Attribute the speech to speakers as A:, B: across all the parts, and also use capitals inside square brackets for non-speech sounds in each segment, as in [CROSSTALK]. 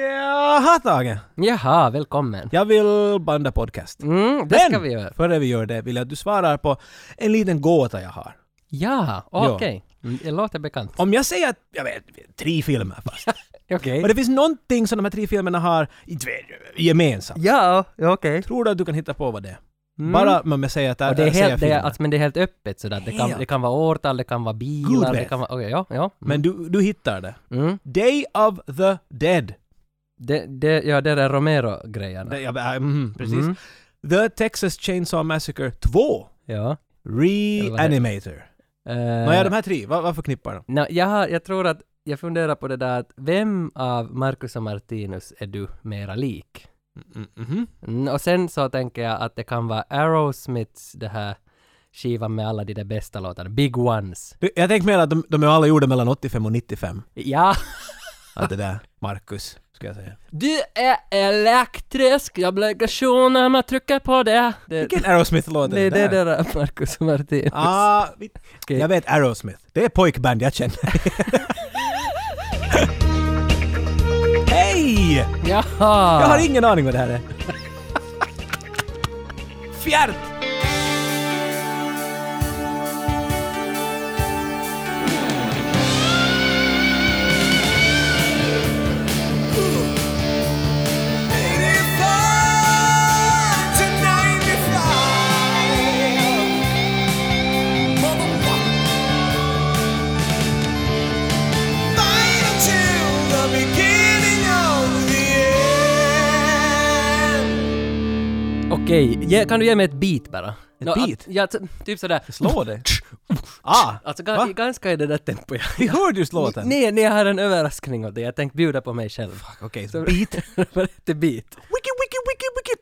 A: Jaha Tage,
B: Jaha, välkommen.
A: jag vill banda podcast.
B: Mm, det ska vi göra.
A: före vi gör det vill jag att du svarar på en liten gåta jag har.
B: Ja,
A: Ja.
B: okej. Mm, Det låter bekant.
A: Om jag säger att, jag vet, tre filmer fast.
B: Okej.
A: Och det finns någonting som de här tre filmerna har inte vet, gemensamt.
B: Ja, ja, okej.
A: Tror du att du kan hitta på vad det är?
B: Mm.
A: Bara om jag säger att
B: Och det är,
A: jag säger
B: helt, det, är,
A: filmer.
B: alltså, men det är helt öppet sådär. Det kan,
A: Helt.
B: det kan vara årtal, det kan vara bilar,
A: Gud
B: det
A: vet.
B: kan vara... Okej, ja, ja.
A: Men du, du hittar det.
B: Mm.
A: Day of the Dead.
B: Det, det, ja, det är Romero-grejerna.
A: Det, jag, äh, mm, precis.
B: Mm.
A: The Texas Chainsaw Massacre 2.
B: Ja. vad heter
A: Reanimator.
B: Uh,
A: Nåja, de här tre, vad, vad förknippar de?
B: no, jag, har- jag tror att jag funderar på det där att vem av Marcus och Martinus är du mera lik?
A: Mm, mhm.
B: Mm, och sen så tänker jag att det kan vara Aerosmiths det här skivan med alla de där bästa låtarna, Big Ones.
A: Du, Jag tänker mer att de, de är alla gjorda mellan 85 och 95.
B: Ja,
A: Allt det där. Marcus, ska jag säga.
B: du är elektrisk, jag blir gation när man trycker på det. det
A: Vilken Aerosmith-låt
B: nej,
A: är
B: det
A: det
B: är
A: där?
B: det där eh, Marcus och Martinus.
A: Ah, vi,
B: Okej.
A: Jag vet Aerosmith. Det är pojkband jag känner. [LAUGHS] Hej!
B: Jaha!
A: Jag har ingen aning vad det här är. Fjärt!
B: Okej, ge, kan du ge mig ett beat bara? Ett
A: beat?
B: Ja, t- typ sådär.
A: Slå det. Ah!
B: Alltså
A: va?
B: ga, ganska i det där tempot. jag-
A: Vi hörde just låten.
B: Nej, nej, jag har en överraskning åt dig. Jag tänkte bjuda på mig själv.
A: Okej, så...
B: Så-
A: Wiki,
B: [LAUGHS] Var det beat?
A: wiki, wiki, wiki!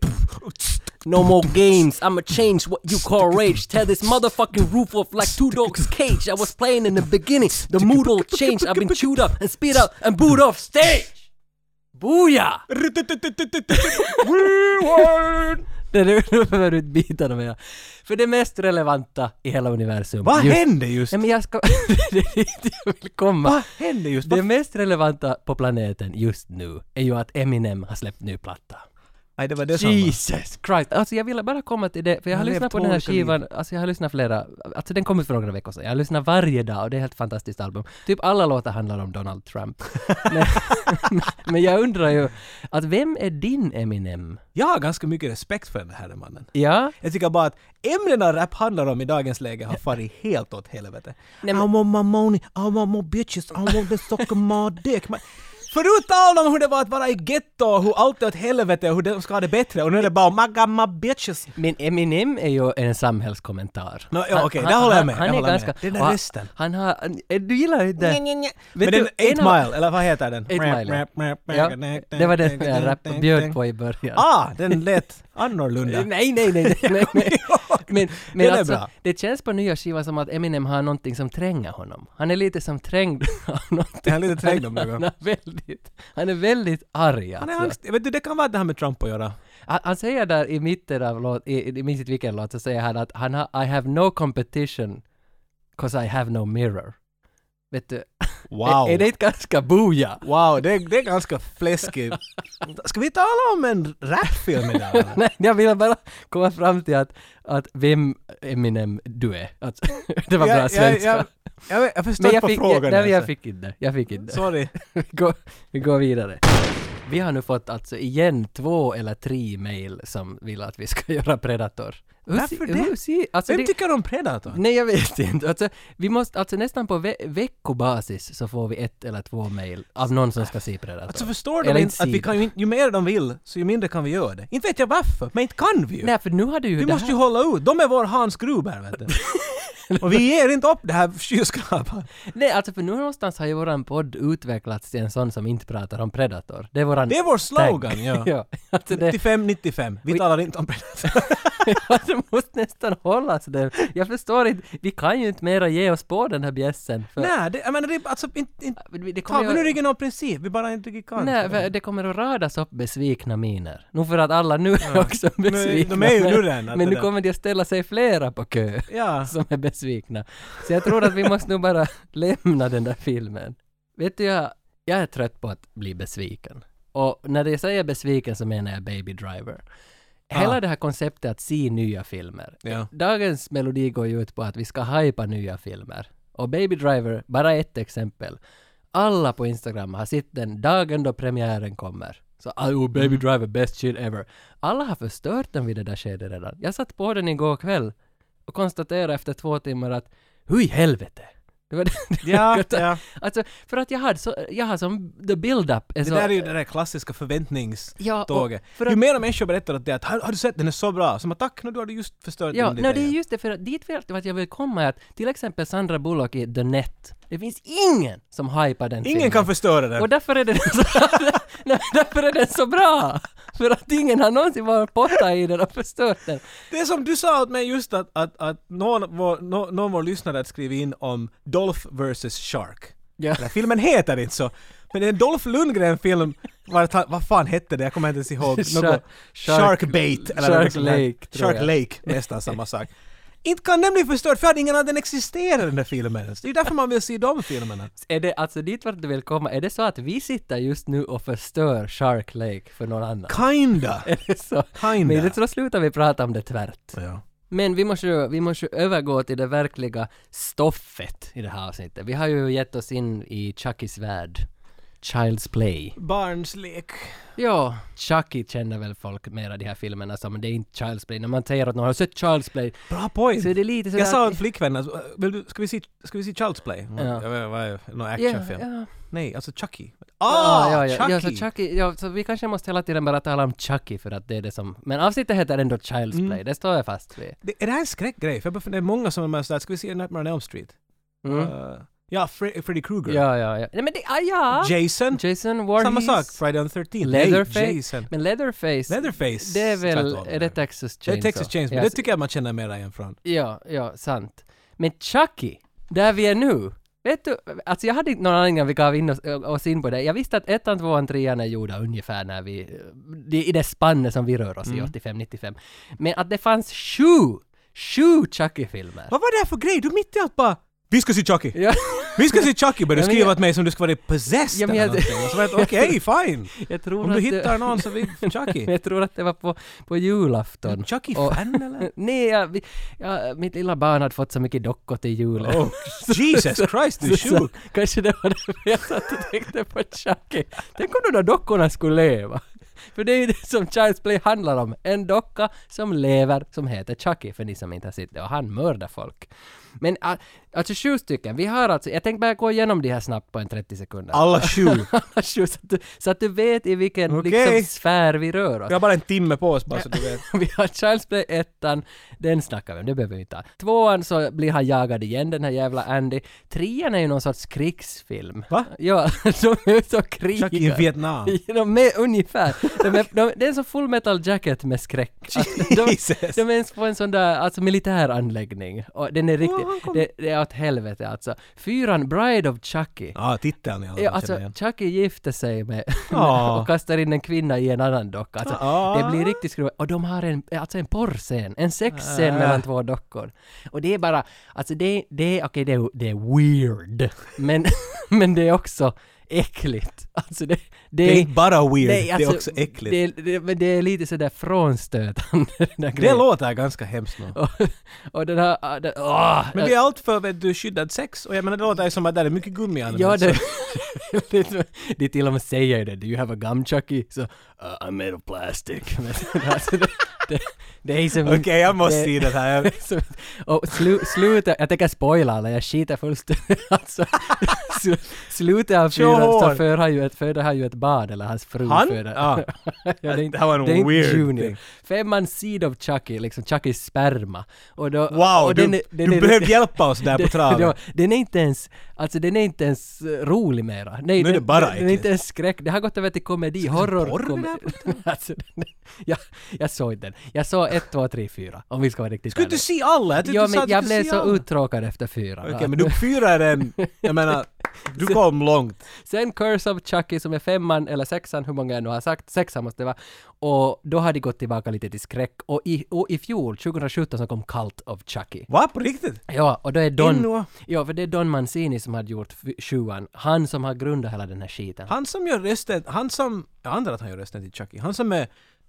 B: No more games, I'ma change what you call rage. Tear this motherfucking roof off like two dogs cage. I was playing in the beginning, the mood all changed.
A: [LAUGHS]
B: I've been chewed up and spit up and booed off stage! Booyah!
A: Rewind!
B: [LAUGHS] Det är nu behöver du inte bita dem här. För det mest relevanta i hela universum.
A: Vad
B: Just-
A: hände just?
B: Nej men jag ska... [LAUGHS] det är dit jag vill komma.
A: Vad hände just?
B: Det mest relevanta på planeten just nu är ju att Eminem har släppt ny platta.
A: Nej, det var det som...
B: Jesus Christ! Alltså jag ville bara komma till det, för jag har
A: Jag har
B: lyssnat
A: levt
B: på
A: två
B: den här
A: olika
B: skivan, alltså jag har lyssnat flera, alltså den kom ut för några veckor sedan, jag har lyssnat varje dag och det är ett helt fantastiskt album. Typ alla låtar handlar om Donald Trump.
A: [LAUGHS]
B: men, [LAUGHS] men jag undrar ju, att vem är din Eminem?
A: Jag har ganska mycket respekt för den här mannen.
B: Ja?
A: Jag tycker bara att ämnena rap handlar om i dagens läge har farit helt åt helvete.
B: Nej, men-
A: I want my money, I want my bitches, I want the suck of my dick. Man... Förut talade de om hur det var att vara i getto och hur allt är åt helvete och hur de ska ha det bättre och nu är det bara "Oh my God, my bitches.
B: Men Eminem är ju en samhällskommentar.
A: Nå, ja,
B: Han-
A: okej,
B: han-
A: där håller jag med,
B: Han,
A: jag
B: han är
A: håller med.
B: ganska...
A: Den där
B: och han-
A: rösten.
B: Han har... eh, Du gillar inte...
A: Men
B: Vet
A: den
B: du,
A: 8
B: en av-
A: Mile, eller vad heter den?
B: 8 Mile, Ja, det
A: [LAUGHS]
B: var det jag rap- bjöd på i början.
A: Ah, den lät [LAUGHS] annorlunda.
B: Nej, nej, nej, nej, nej, nej.
A: [LAUGHS] Den
B: Men, men
A: är
B: alltså,
A: bra.
B: det känns på nya skivan som att Eminem har någonting som tränger honom. Han är lite som trängd [LAUGHS] av någonting.
A: Han är lite trängd om
B: [LAUGHS] Han-
A: något.
B: Han är väldigt, han är väldigt arg
A: [LAUGHS] Han
B: alltså.
A: är angst. Vet du, det kan vara det här med Trump att göra.
B: han, han säger där i mitten av låt, i, i- i minst vilken låt, så säger han att han har, I have no competition, 'cause I have no mirror. Vet du,
A: Wow.
B: är, är det inte ganska
A: [LAUGHS]
B: booja?
A: Wow, det, det är ganska fläskigt. [LAUGHS] Ska vi tala om en rapfilm idag? eller?
B: [LAUGHS] Nej, jag ville bara komma fram till att, att vem Eminem du är. Alltså, [LAUGHS] det var bra
A: Jag- jag-
B: svenska.
A: Jag, jag, vet- jag förstår
B: Men jag
A: på
B: fick, jag,
A: frågan.
B: nej, jag
A: alltså.
B: fick inte. Jag fick inte. [LAUGHS]
A: Sorry.
B: Vi går, vi går vidare. Vi har nu fått alltså igen två eller tre mejl som vill att vi ska [LAUGHS] göra Predator. Hur
A: Varför
B: se-
A: det?
B: Hur se, alltså
A: Vem
B: det
A: tycker om Predator?
B: nej, jag vet inte. Alltså, vi måste, alltså nästan på ve- veckobasis så får vi ett eller två mejl av någon som ska se Predator.
A: Alltså förstår
B: Eller
A: de inte
B: inte
A: att vi
B: Sid.
A: kan ju, inte- ju mer de vill, så ju mindre kan vi göra det. Inte vet jag varför, men inte kan vi ju.
B: nej, för nu hade ju
A: vi
B: det
A: måste
B: här...
A: ju hålla ut. De är vår Hans Gruber, vet du.
B: [LAUGHS]
A: Och vi ger inte upp det här skyskrapan.
B: Nej, alltså för nu någonstans har ju våran podd utvecklats till en sån som inte pratar om Predator. Det är våran...
A: Det är vår slogan,
B: tagg.
A: ja.
B: [LAUGHS] ja. Alltså det,
A: 95-95. Vi
B: Oj.
A: talar inte om Predator.
B: [LAUGHS] det måste nästan hållas där. Jag förstår inte, vi kan ju inte mera ge oss på den här bjässen. För
A: Nej, det, jag menar det är alltså inte... inte
B: det
A: tar
B: det kommer,
A: vi nu
B: ju,
A: ryggen av princip, vi bara inte riktigt kan.
B: nej, [LAUGHS] för det kommer att radas upp besvikna miner. Nu för att alla nu är också besvikna.
A: de är ju
B: men-
A: nu redan, att
B: [LAUGHS] Men
A: det
B: nu
A: där-
B: kommer de att ställa sig flera på kö [LAUGHS]
A: Ja.
B: som är besvikna. Så jag tror att vi måste nog [LAUGHS] bara lämna den där filmen. Vet du, jag, jag är trött på att bli besviken. Och när jag säger besviken så menar jag Baby Driver. Hela
A: Ah.
B: det här konceptet att se nya filmer.
A: Ja.
B: Dagens melodi går ju ut på att vi ska hypa nya filmer. Och Baby Driver, bara ett exempel. Alla på Instagram har sett den dagen då premiären kommer. Så
A: Mm.
B: oh, Baby Driver, best shit ever. Alla har förstört den vid det där skedet redan. Jag satt på den igår kväll och konstaterade efter två timmar att hur i helvete? Det var [LAUGHS] det, det var
A: Ja,
B: gott.
A: ja.
B: Alltså, för att jag hade så, jag har som the build-up.
A: Det där är ju det där klassiska förväntnings...
B: ja, och
A: Tåget.
B: för
A: Ju
B: att,
A: mer människor berättar att det är att har, har du sett den är så bra, som att tack nu har du just förstört
B: ja,
A: den
B: no, det är just det, för att dit vill, vad jag vill komma är att till exempel Sandra Bullock i The Net, det finns ingen som hypar den
A: Ingen
B: filmen.
A: kan förstöra den!
B: Och därför är, den så, [LAUGHS] Nej, därför är den så bra! För att ingen har någonsin varit borta i den och förstört den.
A: Det är som du sa åt mig just att, att, att någon, vår, nå- någon vår lyssnare hade skrivit in om Dolph vs. Shark.
B: Ja.
A: Den här filmen heter inte så, men det är en Dolph Lundgren-film, vart han- vad fan hette det? Jag kommer inte ens
B: [LAUGHS]
A: ihåg.
B: Shark-
A: Något,
B: Shark-
A: shark Bait eller
B: Shark
A: något sånt här.
B: Lake, tror
A: Shark
B: jag.
A: Lake, nästan samma sak. Inte kan den bli förstörd för att ingen av den existerar den där filmen ens. Det är ju därför man vill se de filmerna.
B: Är det alltså dit vart du vill komma, är det så att vi sitter just nu och förstör Shark Lake för någon annan?
A: Kinda!
B: Är det [LAUGHS] så?
A: Kinda!
B: Men så slutar vi prata om det tvärt.
A: Ja.
B: Men vi måste, ju- vi måste ju övergå till det verkliga stoffet i det här avsnittet. Vi har ju gett oss in i Chuckys värld. Child's Play.
A: Barnslek.
B: Ja, Chucky känner väl folk mera de här filmerna som, men det är inte Child's Play. När man säger att någon har sett Child's Play
A: Bra poäng!
B: så är det lite sådär...
A: Jag sa
B: att-
A: åt flickvännen, att, vill du, ska, vi se, ska vi se Child's Play?
B: Ja.
A: Jag vet, vad är Någon
B: Ja,
A: actionfilm?
B: ja.
A: Nej, alltså Chucky.
B: Ah,
A: Ah,
B: ja, ja,
A: Chucky!
B: ja, så Chucky, ja, så vi kanske måste hela tiden bara tala om Chucky för att det är det som... Men avsnittet heter ändå Child's
A: Mm.
B: Play, det står jag fast vid.
A: det, är det här en skräckgrej? För jag bara funderar, det är många som är sådär, ska vi se Nightmare on Elm Street?
B: Mm.
A: Eh, ja, Fre- Freddy Krueger.
B: ja, ja, ja. Nej men det, ah, ja!
A: Jason.
B: Jason Voorhees.
A: Samma sak, Friday on 13.
B: Leatherface.
A: Nej, Jason.
B: Men Leatherface,
A: Leatherface.
B: Det är väl,
A: tvärtom.
B: är det Texas
A: Det är
B: Chainsaw?
A: Texas Chainsaw,
B: Ja,
A: det tycker jag man känner mer igen från.
B: ja, ja, sant. Men Chucky, där vi är nu. Vet du, alltså jag hade inte någon aning om vi gav in oss, oss in på det. Jag visste att ettan, tvåan, trean är gjorda ungefär när vi, det, är i det spannet som vi rör oss
A: Mm.
B: i, 85-95. Men att det fanns sju, sju Chucky-filmer.
A: Vad var det här för grej? Du mitt i allt bara Vi ska se Chucky!
B: [LAUGHS] Ja,
A: Vi ska se Chucky! Men du
B: Ja, men
A: skriver
B: jag-
A: åt mig som du ska vara possessed
B: Ja, men
A: eller
B: jag-
A: någonting. Och så var jag okej, fine!
B: [LAUGHS] jag tror
A: Om
B: att
A: du
B: det-
A: hittar någon så vi... Chucky!
B: Men [LAUGHS] jag tror att det var på, på
A: Är du
B: julafton.
A: Chucky-fan
B: [LAUGHS]
A: eller?
B: Nej, jag, vi- jag, mitt lilla barn hade fått så mycket dockor till julen.
A: Oh, Jesus Christ, du är
B: Så- så
A: sjuk!
B: Kanske det [LAUGHS] var därför jag satt och tänkte på Chucky. Tänk om de där dockorna skulle leva. För det är ju det som Child's Play handlar om. En docka som lever, som heter Chucky, för ni som inte har sett det. Och han mördar folk. Men ah, alltså sju stycken. Vi har alltså, jag tänkte bara gå igenom de här snabbt på en 30 sekunder. [LAUGHS]
A: Alla sju!
B: Alla sju, så, att du, så att du vet i vilken
A: Okej.
B: liksom, sfär vi rör oss.
A: Vi har bara en timme på oss bara så du vet.
B: [LAUGHS] Vi har Child's Play 1, den snackar vi om, det behöver vi inte ha. Tvåan så blir han jagad igen, den här jävla Andy. Trean är ju någon sorts krigsfilm.
A: Va?
B: Ja, [LAUGHS] de är så krigar.
A: Chucky i Vietnam.
B: De är ungefär. De är, de, det är som full metal jacket med skräck. Alltså,
A: [LAUGHS]
B: de,
A: Jesus!
B: de är ens på en sån där alltså, militär anläggning. Och den är riktigt,
A: Åh, han kom-
B: det, det är åt helvete alltså. Fyran, Bride of Chucky.
A: Ja, titeln i alla
B: Ja,
A: fall
B: alltså
A: känner jag igen.
B: Chucky gifte sig med,
A: Ja.
B: [LAUGHS] och kastar in en kvinna i en annan docka. Alltså,
A: Ja.
B: Det blir riktigt skruvat. Och de har en, alltså en porrscen, en sexscen
A: Äh.
B: mellan två dockor. Och det är bara, alltså det, det okej det, är- det är weird, men, [LAUGHS] men det är också äckligt. Alltså det,
A: Det är
B: det,
A: inte bara weird,
B: nej,
A: det
B: alltså,
A: är också äckligt. Det,
B: det, det, men det är lite sådär frånstötande. [LAUGHS] den där grejen.
A: låter ganska hemskt nu.
B: och, och den här, ah, den, åh,
A: Men det är allt för vet du, skyddad sex och jag menar det låter ju som att där är mycket gummi använt.
B: Ja,
A: så-
B: det, det, [LAUGHS] det till och med säger ju det. Do you have a gum Chucky? Så, uh, I'm made of plastic. [LAUGHS] Men, alltså, det, det, det är som...
A: Okej, jag måste
B: [LAUGHS] det-
A: se det här. Jag-
B: som- och slu, slutet, jag tänker spoila alla, jag skiter fullständigt [LAUGHS] alltså, slu- Slutet av
A: Kör
B: fyran så
A: hårt.
B: föder han ju ett, föder han ju ett barn, eller hans fru
A: Han?
B: föder.
A: Ja.
B: [LAUGHS] ja, det, är inte-
A: Det här var en
B: det är inte
A: weird
B: junior.
A: thing.
B: Femman Seed of Chucky, liksom Chuckys sperma. Och då,
A: Wow,
B: och
A: du,
B: den är- den
A: du
B: är
A: behövde
B: riktigt-
A: hjälpa oss där på
B: [LAUGHS] det
A: traven.
B: var- den är inte ens, alltså den är inte ens eh, rolig mera. Nej,
A: Nu är
B: den,
A: det bara
B: den, den är inte
A: äckligt.
B: ens skräck. Det har gått över till komedi,
A: Ska vi se
B: horror. [LAUGHS]
A: porr
B: kom-
A: med det här
B: alltså, den- jag, jag såg den. Jag såg ett, två, tre, fyra. Om vi ska vara riktigt
A: Skulle du se alla? Jag tyckte
B: Jo
A: du sa
B: men
A: att du
B: jag
A: skulle
B: blev
A: se
B: så
A: alla.
B: uttråkad efter fyra.
A: Okej,
B: Ja.
A: men du fyra är en... Jag menar, du kom långt.
B: Sen Curse of Chucky som är femman eller sexan, hur många jag nu har sagt, sexan måste det vara. Och då har de gått tillbaka lite till skräck. Och i, och i fjol, 2017, så kom Cult of Chucky.
A: Va, på riktigt?
B: Ja, och då är Don...
A: Inua.
B: Ja, för det är Don Mancini som har gjort f- sjuan. Han som har grundat hela den här skiten.
A: Han som gör rösten, han som... Jag antar att han gör rösten till Chucky. Han som är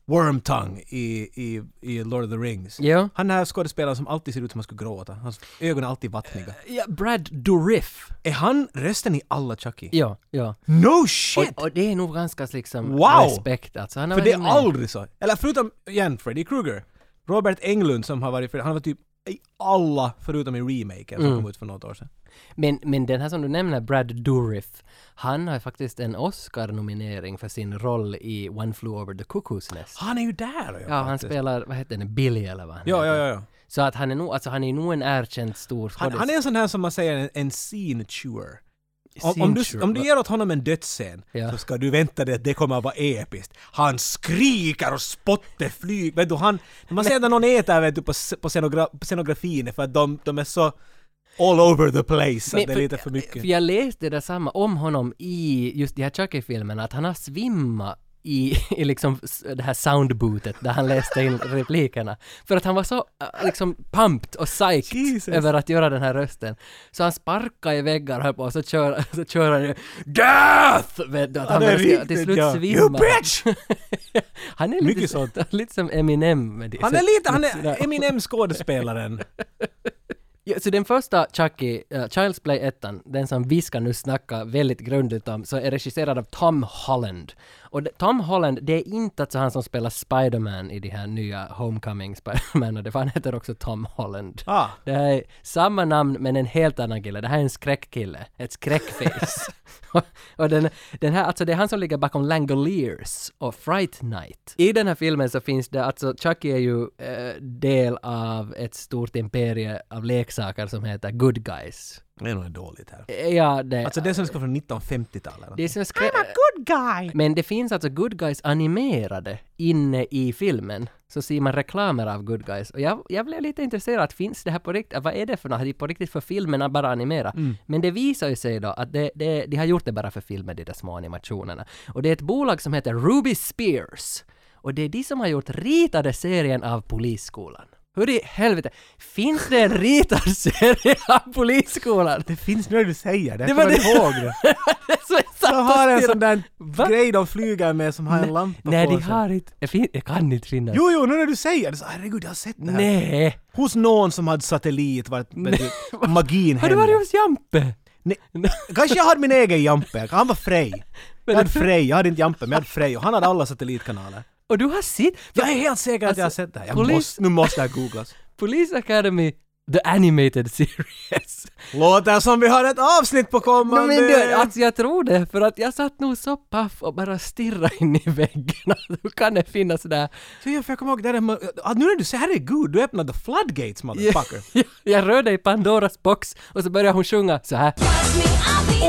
A: Wormtongue i, i, i Lord of the Rings.
B: Ja.
A: Han är skådespelaren som alltid ser ut som han skulle gråta. Hans ögon är alltid vattniga.
B: ja. Brad Dourif.
A: Är han rösten i alla Chucky?
B: Ja, ja.
A: No shit!
B: Och, och det är nog ganska liksom
A: Wow!
B: respekt alltså. Han har
A: För det
B: varit
A: är
B: med.
A: aldrig så. Eller förutom, igen, Freddy Krueger. Robert Englund som har varit, han var typ i alla förutom i remaken
B: Mm.
A: som kom ut för något år sedan.
B: Men, men den här som du nämner, Brad Dourif, han har faktiskt en Oscar-nominering för sin roll i One Flew Over the Cuckoo's Nest.
A: Han är ju där!
B: Ja, han spelar, vad heter den, Billy eller vad han
A: Ja,
B: heter.
A: ja, ja. ja.
B: Så att han är nog, alltså han är nog en erkänd stor
A: Han,
B: skådis.
A: han är en sån här som man säger, en, en scene chewer. Om, om, du, om du ger åt honom en dödsscen
B: Ja.
A: så ska du vänta dig att det kommer att vara episkt. Han skriker och spotter flyger. Vet du, han... När man ser när någon äter vet du, på, s- på, scenogra, på scenografin är för att de, de är så all over the place. Att det är lite för mycket.
B: För jag läste det samma om honom i just de här Chucky-filmerna, att han har svimmat i, [LAUGHS] i liksom s- det här soundbootet där han läste
A: [LAUGHS]
B: in replikerna. För att han var så äh, liksom pumped och psyched
A: Jesus.
B: över att göra den här rösten. Så han sparkar i väggar och höll på och så kör, [LAUGHS] så kör han ju DEATH! Vet du, att han
A: det är
B: börjar skriva-
A: riktigt,
B: till slut
A: ja.
B: svimmar
A: You
B: han.
A: bitch!
B: [LAUGHS] han är lite,
A: Mycket
B: så, [LAUGHS] lite som Eminem med det.
A: Han
B: Så-
A: är lite, han är
B: [LAUGHS]
A: Eminem-skådespelaren.
B: Ja, så den första Chucky, eh, Child's Play 1, den som vi ska nu snacka väldigt grundligt om, så är regisserad av Tom Holland. Och det- Tom Holland, det är inte alltså han som spelar Spider-Man i de här nya Homecoming Spider-Man, och det för han heter också Tom Holland.
A: Ah.
B: Det här är samma namn men en helt annan kille. Det här är en skräckkille. Ett skräckface. och och den, den här, alltså det är han som ligger bakom Langoliers och Fright Night. I den här filmen så finns det, alltså Chucky är ju eh, del av ett stort imperie av leksaker som heter Good Guys. Eh,
A: Det är nog dåligt här.
B: Ja, det...
A: Alltså det som ska från 1950-talet.
B: det är som skrä-
A: good guy!
B: men det finns alltså good guys animerade inne i filmen. Så ser man reklamer av good guys. Och jag, jag blev lite intresserad, finns det här på riktigt? Vad är det för något? Har de på riktigt för filmerna bara animera?
A: Mm.
B: Men det visar ju sig då att det, det, de har gjort det bara för filmen, de där små animationerna. Och det är ett bolag som heter Ruby Spears. Och det är de som har gjort ritade serien av Polisskolan. Hur i helvete, finns det en ritad serie av Polisskolan?
A: Det finns nu när du säger det,
B: Det
A: jag
B: var
A: kommer inte
B: det-
A: ihåg det.
B: Så [LAUGHS] jag satt
A: De
B: och
A: har en
B: stirrade.
A: sån där
B: Va?
A: grej de flyger med som har en lampa
B: Nej,
A: på
B: de
A: sig.
B: har inte... Jag, fin- jag kan inte finna...
A: Jo, jo, nu när du säger det så herregud, jag har sett det här.
B: Nej!
A: Hos någon som hade satellit vart vet du, magin
B: [LAUGHS] Har du
A: hände.
B: varit hos Jampe?
A: Nej. Kanske jag hade min egen Jampe, han var
B: [LAUGHS]
A: Frej. Jag hade Frej, jag hade inte Jampe men jag hade Frej och han hade alla satellitkanaler.
B: Och du har sett...
A: Jag är helt säker att jag har
B: Alltså,
A: sett det här. Jag
B: polis-
A: måste, nu måste jag googlas.
B: Police Academy, the animated series.
A: Låter som vi har ett avsnitt på
B: No,
A: kommande!
B: men du, alltså jag tror det, för att jag satt nog så paff och bara stirrade in i väggen. [LAUGHS] Alltså, Hur kan det finnas där?
A: Så jag, för jag kommer ihåg det där med, ah, nu när du säger herregud, du öppnade the floodgates motherfucker.
B: Jag, [LAUGHS] jag rörde i Pandoras box och så började hon sjunga så här.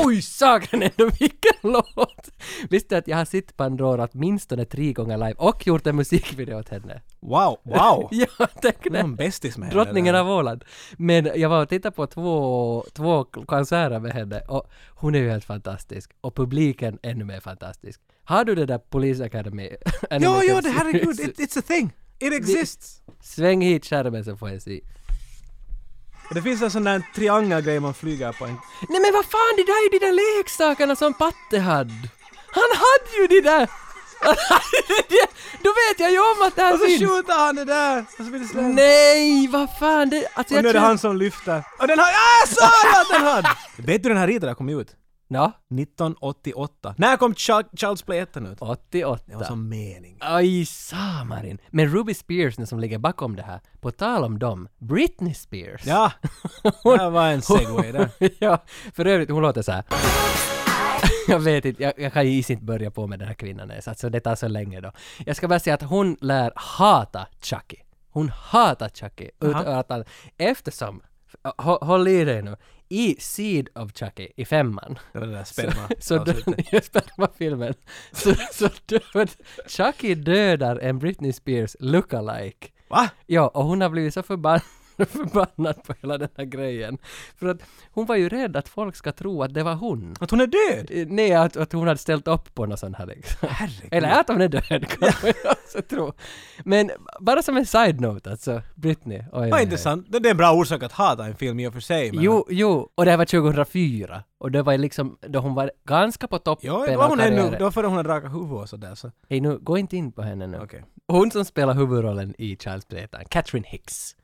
B: Oj, sagan ändå vilken [LAUGHS] låt! Visste att jag har sett Pandora åtminstone tre gånger live och gjort en musikvideo åt henne? [LAUGHS]
A: Wow, wow!
B: Ja, tänk
A: Du
B: det!
A: var en bästis med henne
B: Drottningen
A: där.
B: av Åland. Men jag var och tittade på två, två konserter med henne och hon är ju helt fantastisk. Och publiken ännu mer fantastisk. Har du det där Police Academy? [LAUGHS]
A: Ja,
B: animated
A: ja, det
B: [LAUGHS]
A: herregud,
B: series?
A: it, it's a thing! It exists!
B: Sväng hit skärmen så får jag se.
A: Det finns en sån där triangelgrej man flyger på en...
B: Nej men vad fan, det där är ju de där leksakerna som Patte hade. Han hade ju det där! [LAUGHS] Då vet jag ju om att det här
A: Och så
B: finns.
A: skjuter han det där! Och så blir det slängt.
B: Nej, vad fan det... Alltså
A: Och nu är det
B: känner-
A: han som lyfter. Och den har... Ah, jag sa ju att den
B: [LAUGHS]
A: hade! Vet du den här riddaren kom ut?
B: Nå,
A: 1988. När kom Ch- Child's Play 1 ut?
B: 88.
A: Det var som mening.
B: Aj, samarin. Men Ruby Spears nu som ligger bakom det här, på tal om dem, Britney Spears. [LAUGHS]
A: Ja,
B: Hon-
A: det var en segway
B: [LAUGHS]
A: där.
B: ja, för övrigt, hon låter så här. [LAUGHS] Jag vet inte, jag, jag kan ju inte börja på med den här kvinnan ens, alltså det tar så länge då. Jag ska bara säga att hon lär hata Chucky. Hon hatar Chucky utöver att han, eftersom, h- hå- håll i dig nu, i Seed of Chucky, i femman,
A: Det var det där spännande.
B: så dör, [LAUGHS] just filmen så, så dör, Chucky dödar en Britney Spears lookalike
A: Va?
B: Ja, och hon har blivit så förbann- [LAUGHS] förbannad på hela den här grejen. För att hon var ju rädd att folk ska tro att det var hon.
A: Att hon är död?
B: Eh, Nej, att, att hon hade ställt upp på något sånt
A: [LAUGHS]
B: här liksom.
A: Herregud.
B: Eller att hon är död kan man ju också tro. Men bara som en side-note alltså, Britney. Oj, oj,
A: Vad
B: oj.
A: intressant. Det det är en bra orsak att hata en film i och för sig. Men...
B: Jo, jo, och det här var 2004. Och det var ju liksom då hon var ganska på toppen
A: Jo, det var
B: av
A: hon ännu.
B: karriären.
A: Det var före hon hade rakat huvudet och sådär. Så.
B: Hej nu, gå inte in på henne nu.
A: Okej.
B: Hon som spelar huvudrollen i Charles Play-ettan, Catherine Hicks.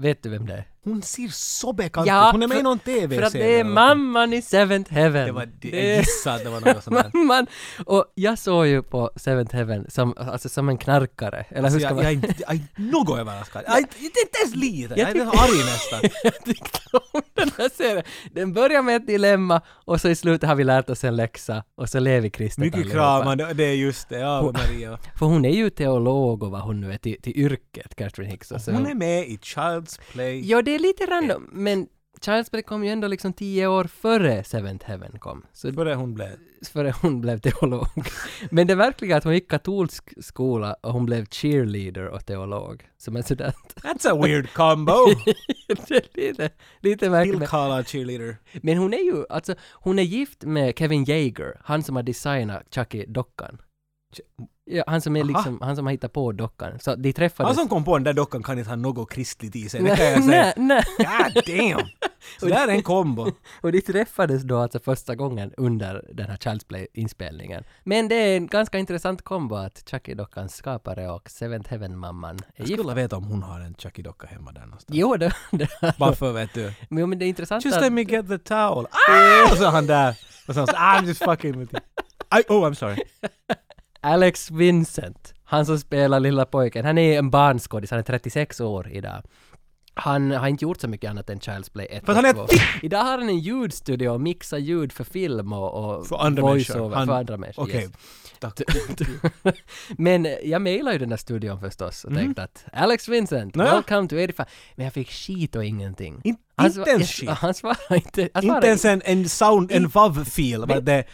B: Vet du vem det är?
A: Hon ser så bekant ut.
B: Ja,
A: Hon är med
B: för-
A: i någon TV-serie.
B: För att det är
A: eller något.
B: mamman i Seventh Heaven.
A: Det var, det, jag gissade att det var något sånt
B: [LAUGHS]
A: där.
B: Mamman! Och jag såg ju på Seventh Heaven som, alltså, som en knarkare. Eller hur
A: Så Alltså,
B: ska
A: jag,
B: man...
A: jag, är inte- jag är inte något överraskad. Jag är inte inte ens lite. Jag,
B: Jag
A: är arg
B: [LAUGHS]
A: nästan.
B: [LAUGHS] jag tyckte om den här serien. Den börjar med ett dilemma och så i slutet har vi lärt oss en läxa och så lever vi kristet
A: Mycket
B: allihopa.
A: kramande. Det är just det. Ja, Maria.
B: För hon är ju teolog och vad hon nu är till, till yrket, Catherine Hicks. Och [LAUGHS] så.
A: Hon är med i Child's Play.
B: Ja, det är lite random, men Child's Play kom ju ändå liksom tio år före Seventh Heaven kom. Så
A: Före hon blev...
B: före hon blev teolog. [LAUGHS] Men det verkliga är att hon gick katolsk skola och hon blev cheerleader och teolog. Som en [LAUGHS] student.
A: That's a weird combo!
B: [LAUGHS] det är lite, lite märkligt. men-
A: Bill cheerleader.
B: Men hon är ju, alltså, hon är gift med Kevin Yeager, han som har designat Chucky-dockan. Ja, han som är
A: Aha.
B: liksom, han som har hittat på dockan. Så de
A: Han
B: träffades...
A: som kom på den där dockan kan inte ha något kristligt i sig, det kan
B: nej,
A: jag säga.
B: nej, nej.
A: God damn! Så där är en kombo.
B: Och de träffades då alltså första gången under den här Child's Play-inspelningen. Men det är en ganska intressant kombo att Chucky-dockans skapare och Seventh Heaven-mamman är
A: Jag
B: gift.
A: skulle veta om hon har en Chucky-docka hemma där någonstans.
B: Jo, det, det,
A: Varför vet du?
B: jo, men det är intressant
A: Just
B: att...
A: let me get the towel. Ah! Och så han där. Och så han så, I'm just fucking with you. I, oh, I'm sorry.
B: Alex Vincent, han som spelar lilla pojken, han är en barnskådis, han är 36 år idag. Han har inte gjort så mycket annat än Child's Play 1
A: För att han är
B: och
A: ett
B: 2. Idag har han en ljudstudio och mixar ljud för film och, och
A: För andra människor.
B: voiceover
A: Han-
B: för andra människor.
A: Okej.
B: yes.
A: Tack.
B: [LAUGHS] Men eh, jag mejlade ju den där studion förstås
A: Mm.
B: och tänkte att Alex Vincent,
A: Nåja.
B: welcome to 85. Men jag fick skit och ingenting. [LAUGHS]
A: In,
B: Han sva-
A: inte ens
B: Alltså, jag-
A: shit.
B: Han svarade inte. Han svarade
A: Inte ens en, en sound, en vav-fil. But the,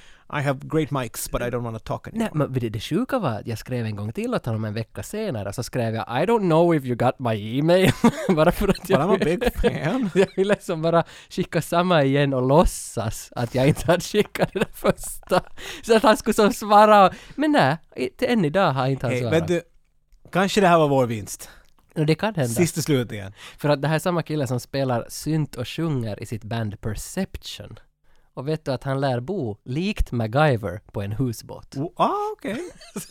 A: I have great mics but I don't want to talk anymore.
B: Nej, men det, det sjuka var att jag skrev en gång till åt honom en vecka senare så skrev jag I don't know if you got my email. [LAUGHS] bara för att
A: But I'm a
B: jag,
A: big fan.
B: [LAUGHS] jag ville liksom bara skicka samma igen och låtsas att jag inte hade skickat det där första. Så att han skulle som svara. och- Men nej, inte än idag har inte han
A: Hey,
B: svarat.
A: vet du, kanske det här var vår vinst.
B: Och det kan hända.
A: Sist och slut igen.
B: För att det här är samma kille som spelar synt och sjunger i sitt band Perception. Och vet du att han lär bo, likt MacGyver, på en husbåt.
A: Oh, ah, okej.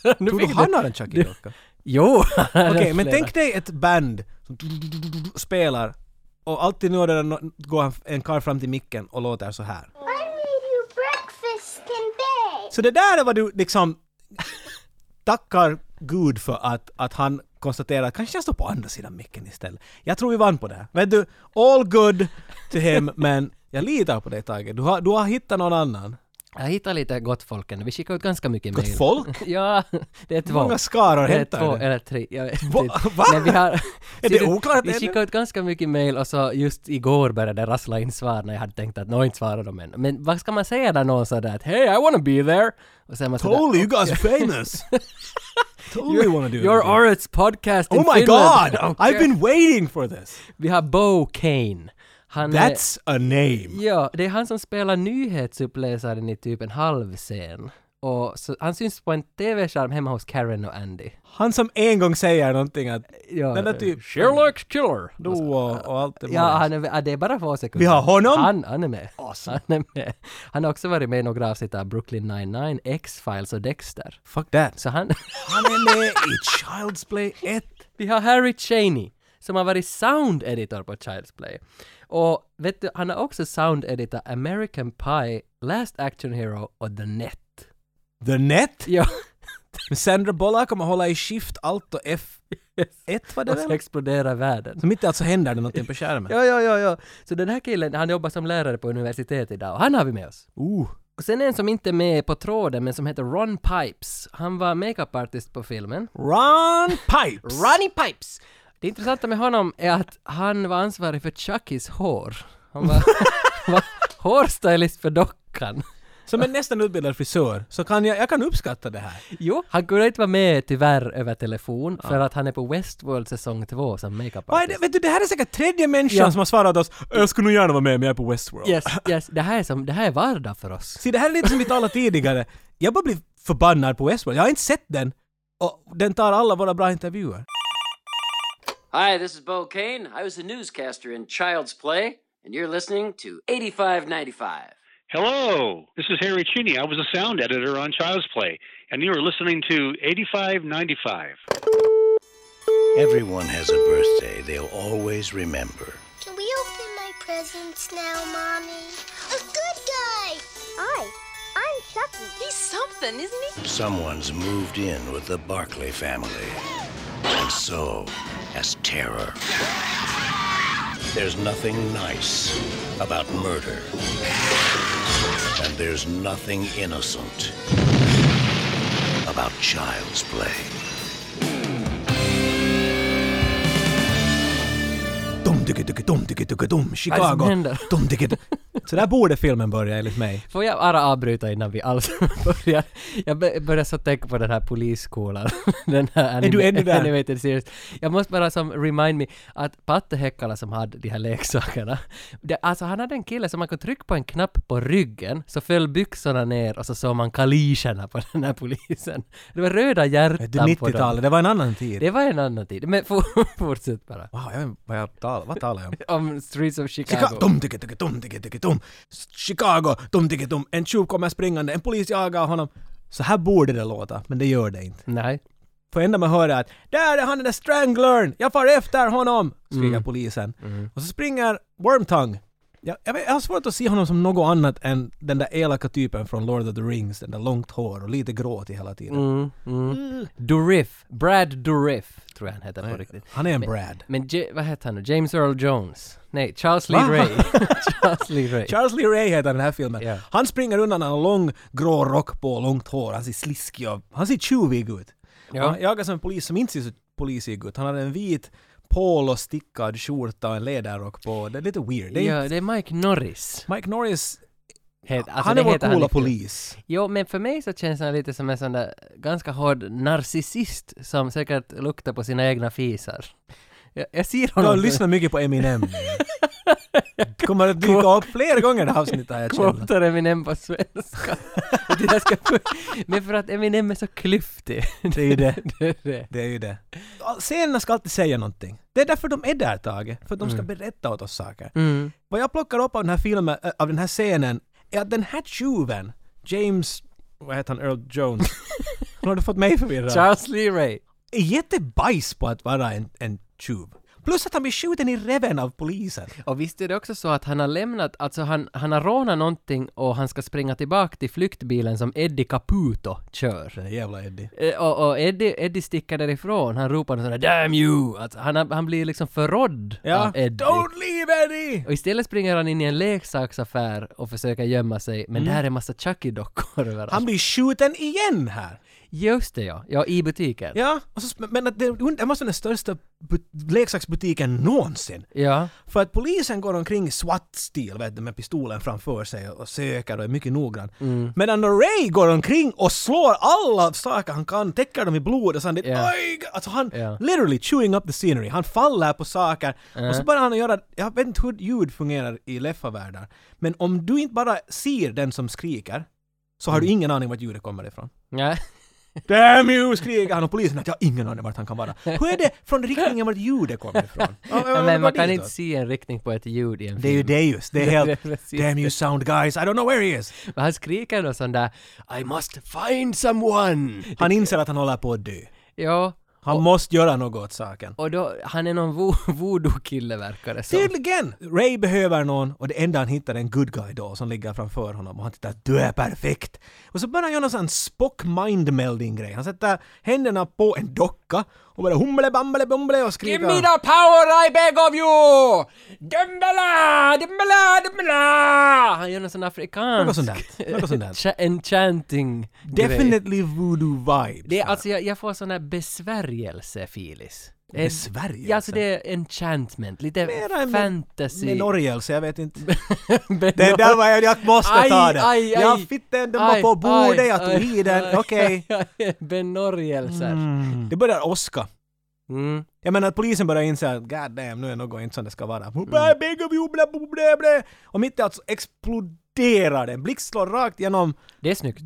B: [LAUGHS] Nu
A: Tror
B: fick
A: du
B: du-
A: han har en Chucky-docka? [LAUGHS]
B: Jo!
A: Okej, men tänk dig ett band som spelar och alltid nu och då nå- går han- en karl fram till micken och låter så här.
C: I made you breakfast today.
A: Så det där är vad du liksom tackar Gud för att, att han konstaterar att kanske jag står på andra sidan micken istället. Jag tror vi vann på det här. Vet du, all good till
B: [LAUGHS]
A: hem men jag litar på dig Tage. Du har, du har hittat någon annan.
B: Jag hittar lite gott folk ändå. Vi skickar ut ganska mycket
A: Gott
B: mejl.
A: folk?
B: [LAUGHS] Ja, det är två.
A: Många skaror
B: det är
A: hämtar
B: två
A: du?
B: eller tre. Jag vet
A: Va-
B: inte.
A: va?
B: Men vi har...
A: [LAUGHS] Är det oklart
B: Vi
A: ännu?
B: skickade ut ganska mycket mejl och så just igår började det rassla in svar när jag hade tänkt att någon inte svarar dem än. Men vad ska man säga när någon sa det att ”Hey, I wanna be there”? Och så är man sådär,
A: Totally, you guys are famous!
B: [LAUGHS]
A: totally wanna do
B: Your
A: it.
B: Orits podcast in
A: Oh my
B: Finland.
A: god! I've been waiting for this!
B: Vi har Bo Kane. Han är,
A: That's a name!
B: ja, det är han som spelar nyhetsuppläsaren i typ en halv scen. Och så, han syns på en TV-skärm hemma hos Karen och Andy.
A: Han som en gång säger någonting att
B: Ja,
A: Den där typ-
B: Sherlock Killer!
A: du och, och allt det
B: Ja, han är, ja, det är bara få sekunder.
A: Vi har honom.
B: Han, han är med.
A: Awesome.
B: Han är med. Han har också varit med i några avsnitt av Brooklyn 99, X-Files och Dexter.
A: Fuck that!
B: Så han...
A: Han är med i Child's Play 1!
B: Vi har Harry Cheney som har varit sound editor på Child's Play. Och vet du, han har också sound editor American Pie, Last Action Hero och The Net.
A: The Net?
B: [LAUGHS] Ja,
A: Men Sandra Bullock kommer hålla i Shift, Alt och F1 var det
B: och så
A: väl?
B: exploderar världen.
A: Så mitt i allt så händer det någonting på skärmen.
B: Ja, ja, ja, ja. Så den här killen, han jobbar som lärare på universitet idag och han har vi med oss.
A: Uh,
B: Och sen en som inte är med på tråden men som heter Ron Pipes. Han var makeup-artist på filmen.
A: Ron Pipes!
B: Ronnie Pipes! Det intressanta med honom är att han var [LAUGHS] ansvarig för Chuckys hår. Han var, var hårstylist för dockan.
A: Som en nästan utbildad frisör så kan jag, jag kan uppskatta det här.
B: Jo, han kunde inte vara med tyvärr över telefon för att han är på Westworld säsong 2 som makeup
A: Vad är det,
B: artist.
A: vet du, det här är säkert tredje människan
B: Ja.
A: som har svarat oss “Jag skulle nog gärna vara med men jag är på Westworld”.
B: Yes, yes, det här är som, det här är vardag för oss.
A: Se, det här är lite som vi talade tidigare. Jag bara blir förbannad på Westworld. Jag har inte sett den. Och den tar alla våra bra intervjuer.
D: Hi, this is Bo Kane. I was a newscaster in Child's Play, and you're listening to 8595.
E: Hello, this is Harry Cheney. I was a sound editor on Child's Play, and you are listening to 8595.
F: Everyone has a birthday they'll always remember.
C: Can we open my presents now, Mommy? A good guy! I. I'm Chucky.
G: He's something, isn't he?
F: Someone's moved in with the Barclay family, and so has terror. There's nothing nice about murder, and there's nothing innocent about child's play.
A: Dom, dicke, dicke, dom, dicke, dicke, dom, Chicago.
B: Vad är det som händer?
A: Dom, dicke, dom. [LAUGHS] Så där borde filmen börja enligt mig.
B: [LAUGHS] Får jag bara avbryta innan vi alls [LAUGHS] börjar? Jag bör- börjar så tänka på den här polisskolan. [LAUGHS] den här anime-
A: du ännu där?
B: animated series. Jag måste bara som remind me att Patte Hekkala som hade de här leksakerna. Det, alltså han hade en kille som man kunde trycka på en knapp på ryggen så föll byxorna ner och så såg man kalischerna på den här polisen. Det var röda hjärtan
A: Det
B: på dem.
A: 90-talet, det var en annan tid.
B: Det var en annan tid. Men for, [LAUGHS] fortsätt bara.
A: Wow, jag vet inte vad jag talar, vad talar jag [LAUGHS] om?
B: Om Streets of Chicago.
A: Chicago. Dum, digga, digga, dum, digga, digga, dum. Chicago, dum, digga, dum. En tjuv kommer springande, en polis jagar honom. Så här borde det låta, men det gör det inte.
B: Nej.
A: För enda man hör är att “Där är han den där stranglern! Jag far efter honom!” skriker
B: Mm.
A: polisen.
B: Mm-hmm.
A: Och så springer Wormtongue. Jag, jag, vet, jag har svårt att se honom som något annat än den där elaka typen från Lord of the Rings, den där långt hår och lite gråtig hela tiden.
B: Mm. Dourif. Brad Dourif tror jag han heter på riktigt.
A: Han är en Brad.
B: Men J- vad heter han nu? James Earl Jones? Nej, Charles Lee Ray.
A: [LAUGHS]
B: Charles Lee Ray.
A: Charles Lee Ray heter den här filmen.
B: Ja.
A: Han springer undan, han har lång grå rock på och långt hår, han ser sliskig och han ser tjuvig ut.
B: Ja.
A: Och Han jagas av en polis som inte ser så polisig ut. Han har en vit polostickad skjorta och en läderrock på. Det är lite weird. Det är
B: ja, det är Mike Norris.
A: Mike Norris,
B: Het, alltså
A: han
B: det
A: är vår
B: heter han
A: coola
B: i filmen.
A: polis.
B: Jo, men för mig så känns han lite som en sån där ganska hård narcissist som säkert luktar på sina egna fisar. Jag, jag ser
A: Du har
B: honom...
A: lyssnat mycket på
B: [LAUGHS]
A: Eminem. Det kommer att dyka upp fler gånger det här avsnittet har jag känner.
B: Quotar Eminem på
A: [LAUGHS]
B: svenska. det där ska, men för att Eminem är så klyftig.
A: Det är ju det.
B: [LAUGHS] det, är det.
A: Det är ju det. Scenerna ska alltid säga någonting. Det är därför de är där Tage. För att de ska
B: Mm.
A: berätta åt oss saker. Vad jag plockar upp av den här filmen, äh, av den här scenen, är att den här tjuven, James, vad heter han, Earl
B: [LAUGHS]
A: Jones. Nu har du fått mig förvirrad.
B: Charles Lee Ray.
A: Är jättebajs på att vara en, en tjuv. Plus att han blir skjuten i reven av polisen.
B: Och visst är det också så att han har lämnat, alltså han, han har rånat någonting och han ska springa tillbaka till flyktbilen som Eddie Caputo kör.
A: Den där jävla Eddie.
B: Eh, Och, och Eddie, Eddie sticker därifrån, han ropar sådär ”Damn you!” alltså, han, har- han blir liksom förrådd
A: Ja.
B: av Eddie.
A: Don't leave Eddie!
B: Och istället springer han in i en leksaksaffär och försöker gömma sig, men där är massa Chucky-dockor [LAUGHS] överallt.
A: Mm. Han blir skjuten igen här!
B: Just det ja, ja i butiken.
A: Ja, och så, men att det, det måste vara den största bu- leksaksbutiken någonsin.
B: Ja.
A: För att polisen går omkring i SWAT-stil vet du, med pistolen framför sig och söker och är mycket noggrann.
B: Mm.
A: Medan då Ray går omkring och slår alla saker han kan, täcker dem i blod och sen det
B: Ja.
A: Aj! Alltså han,
B: Ja.
A: literally chewing up the scenery. Han faller på saker och så börjar han att göra, jag vet inte hur ljud fungerar i leffavärldar, men om du inte bara ser den som skriker så har du
B: Mm.
A: ingen aning vart ljudet kommer ifrån.
B: Nej.
A: Damn you! skriker han och polisen att jag har ingen aning vart han kan
B: [LAUGHS]
A: vara. Hur är det från riktningen vart ljudet kommer ifrån? Ja, ja,
B: men man
A: vad
B: kan
A: det
B: inte
A: då?
B: se en riktning på ett ljud i en
A: Det är ju
B: film.
A: det just, det är
B: Det är
A: helt...
B: precis
A: Damn you sound guys, I don't know where he is!
B: Men han skriker då sån där ”I must find someone”.
A: Han inser att han håller på att dö.
B: Ja,
A: Han måste göra något åt saken.
B: och då, han är någon vo- voodoo-kille verkar det som.
A: Tydligen! Ray behöver någon och det enda han hittar är en good guy då som ligger framför honom och han tittar du är perfekt! Och så börjar han göra någon sån spock mind melding grej. Han sätter händerna på en docka och börjar humble bamble bumble och skriker.
B: Give me the power I beg of you! Dumbala! Dumbala! Dumbala! Han gör någon sån afrikansk...
A: Något sånt där. Något sånt där.
B: [LAUGHS] Cha- enchanting grej.
A: Definitely voodoo vibes.
B: Det är alltså, jag, jag får sån här besvärjelse-filis.
A: Det är Sverige
B: Ja, alltså det är enchantment, lite
A: Mera än-
B: fantasy.
A: Med
B: [LAUGHS]
A: Norge, så jag vet inte.
B: Benno-
A: [LAUGHS] Det där var jag, jag måste
B: Aj,
A: ta den.
B: aj,
A: Ja,
B: aj.
A: fitten, den var
B: Aj,
A: på bordet,
B: aj,
A: jag tog
B: aj,
A: i den,
B: [LAUGHS] aj.
A: okej. Mm.
B: Ben Norjelser.
A: Det börjar åska.
B: Mm.
A: Jag menar att polisen börjar inse att god damn, nu är något inte som det ska vara. Bä, bä, gubbe, jubla, bo, blä, blä. Och mitt i allt så exploderar den. Blixt slår rakt genom...
B: Det är snyggt.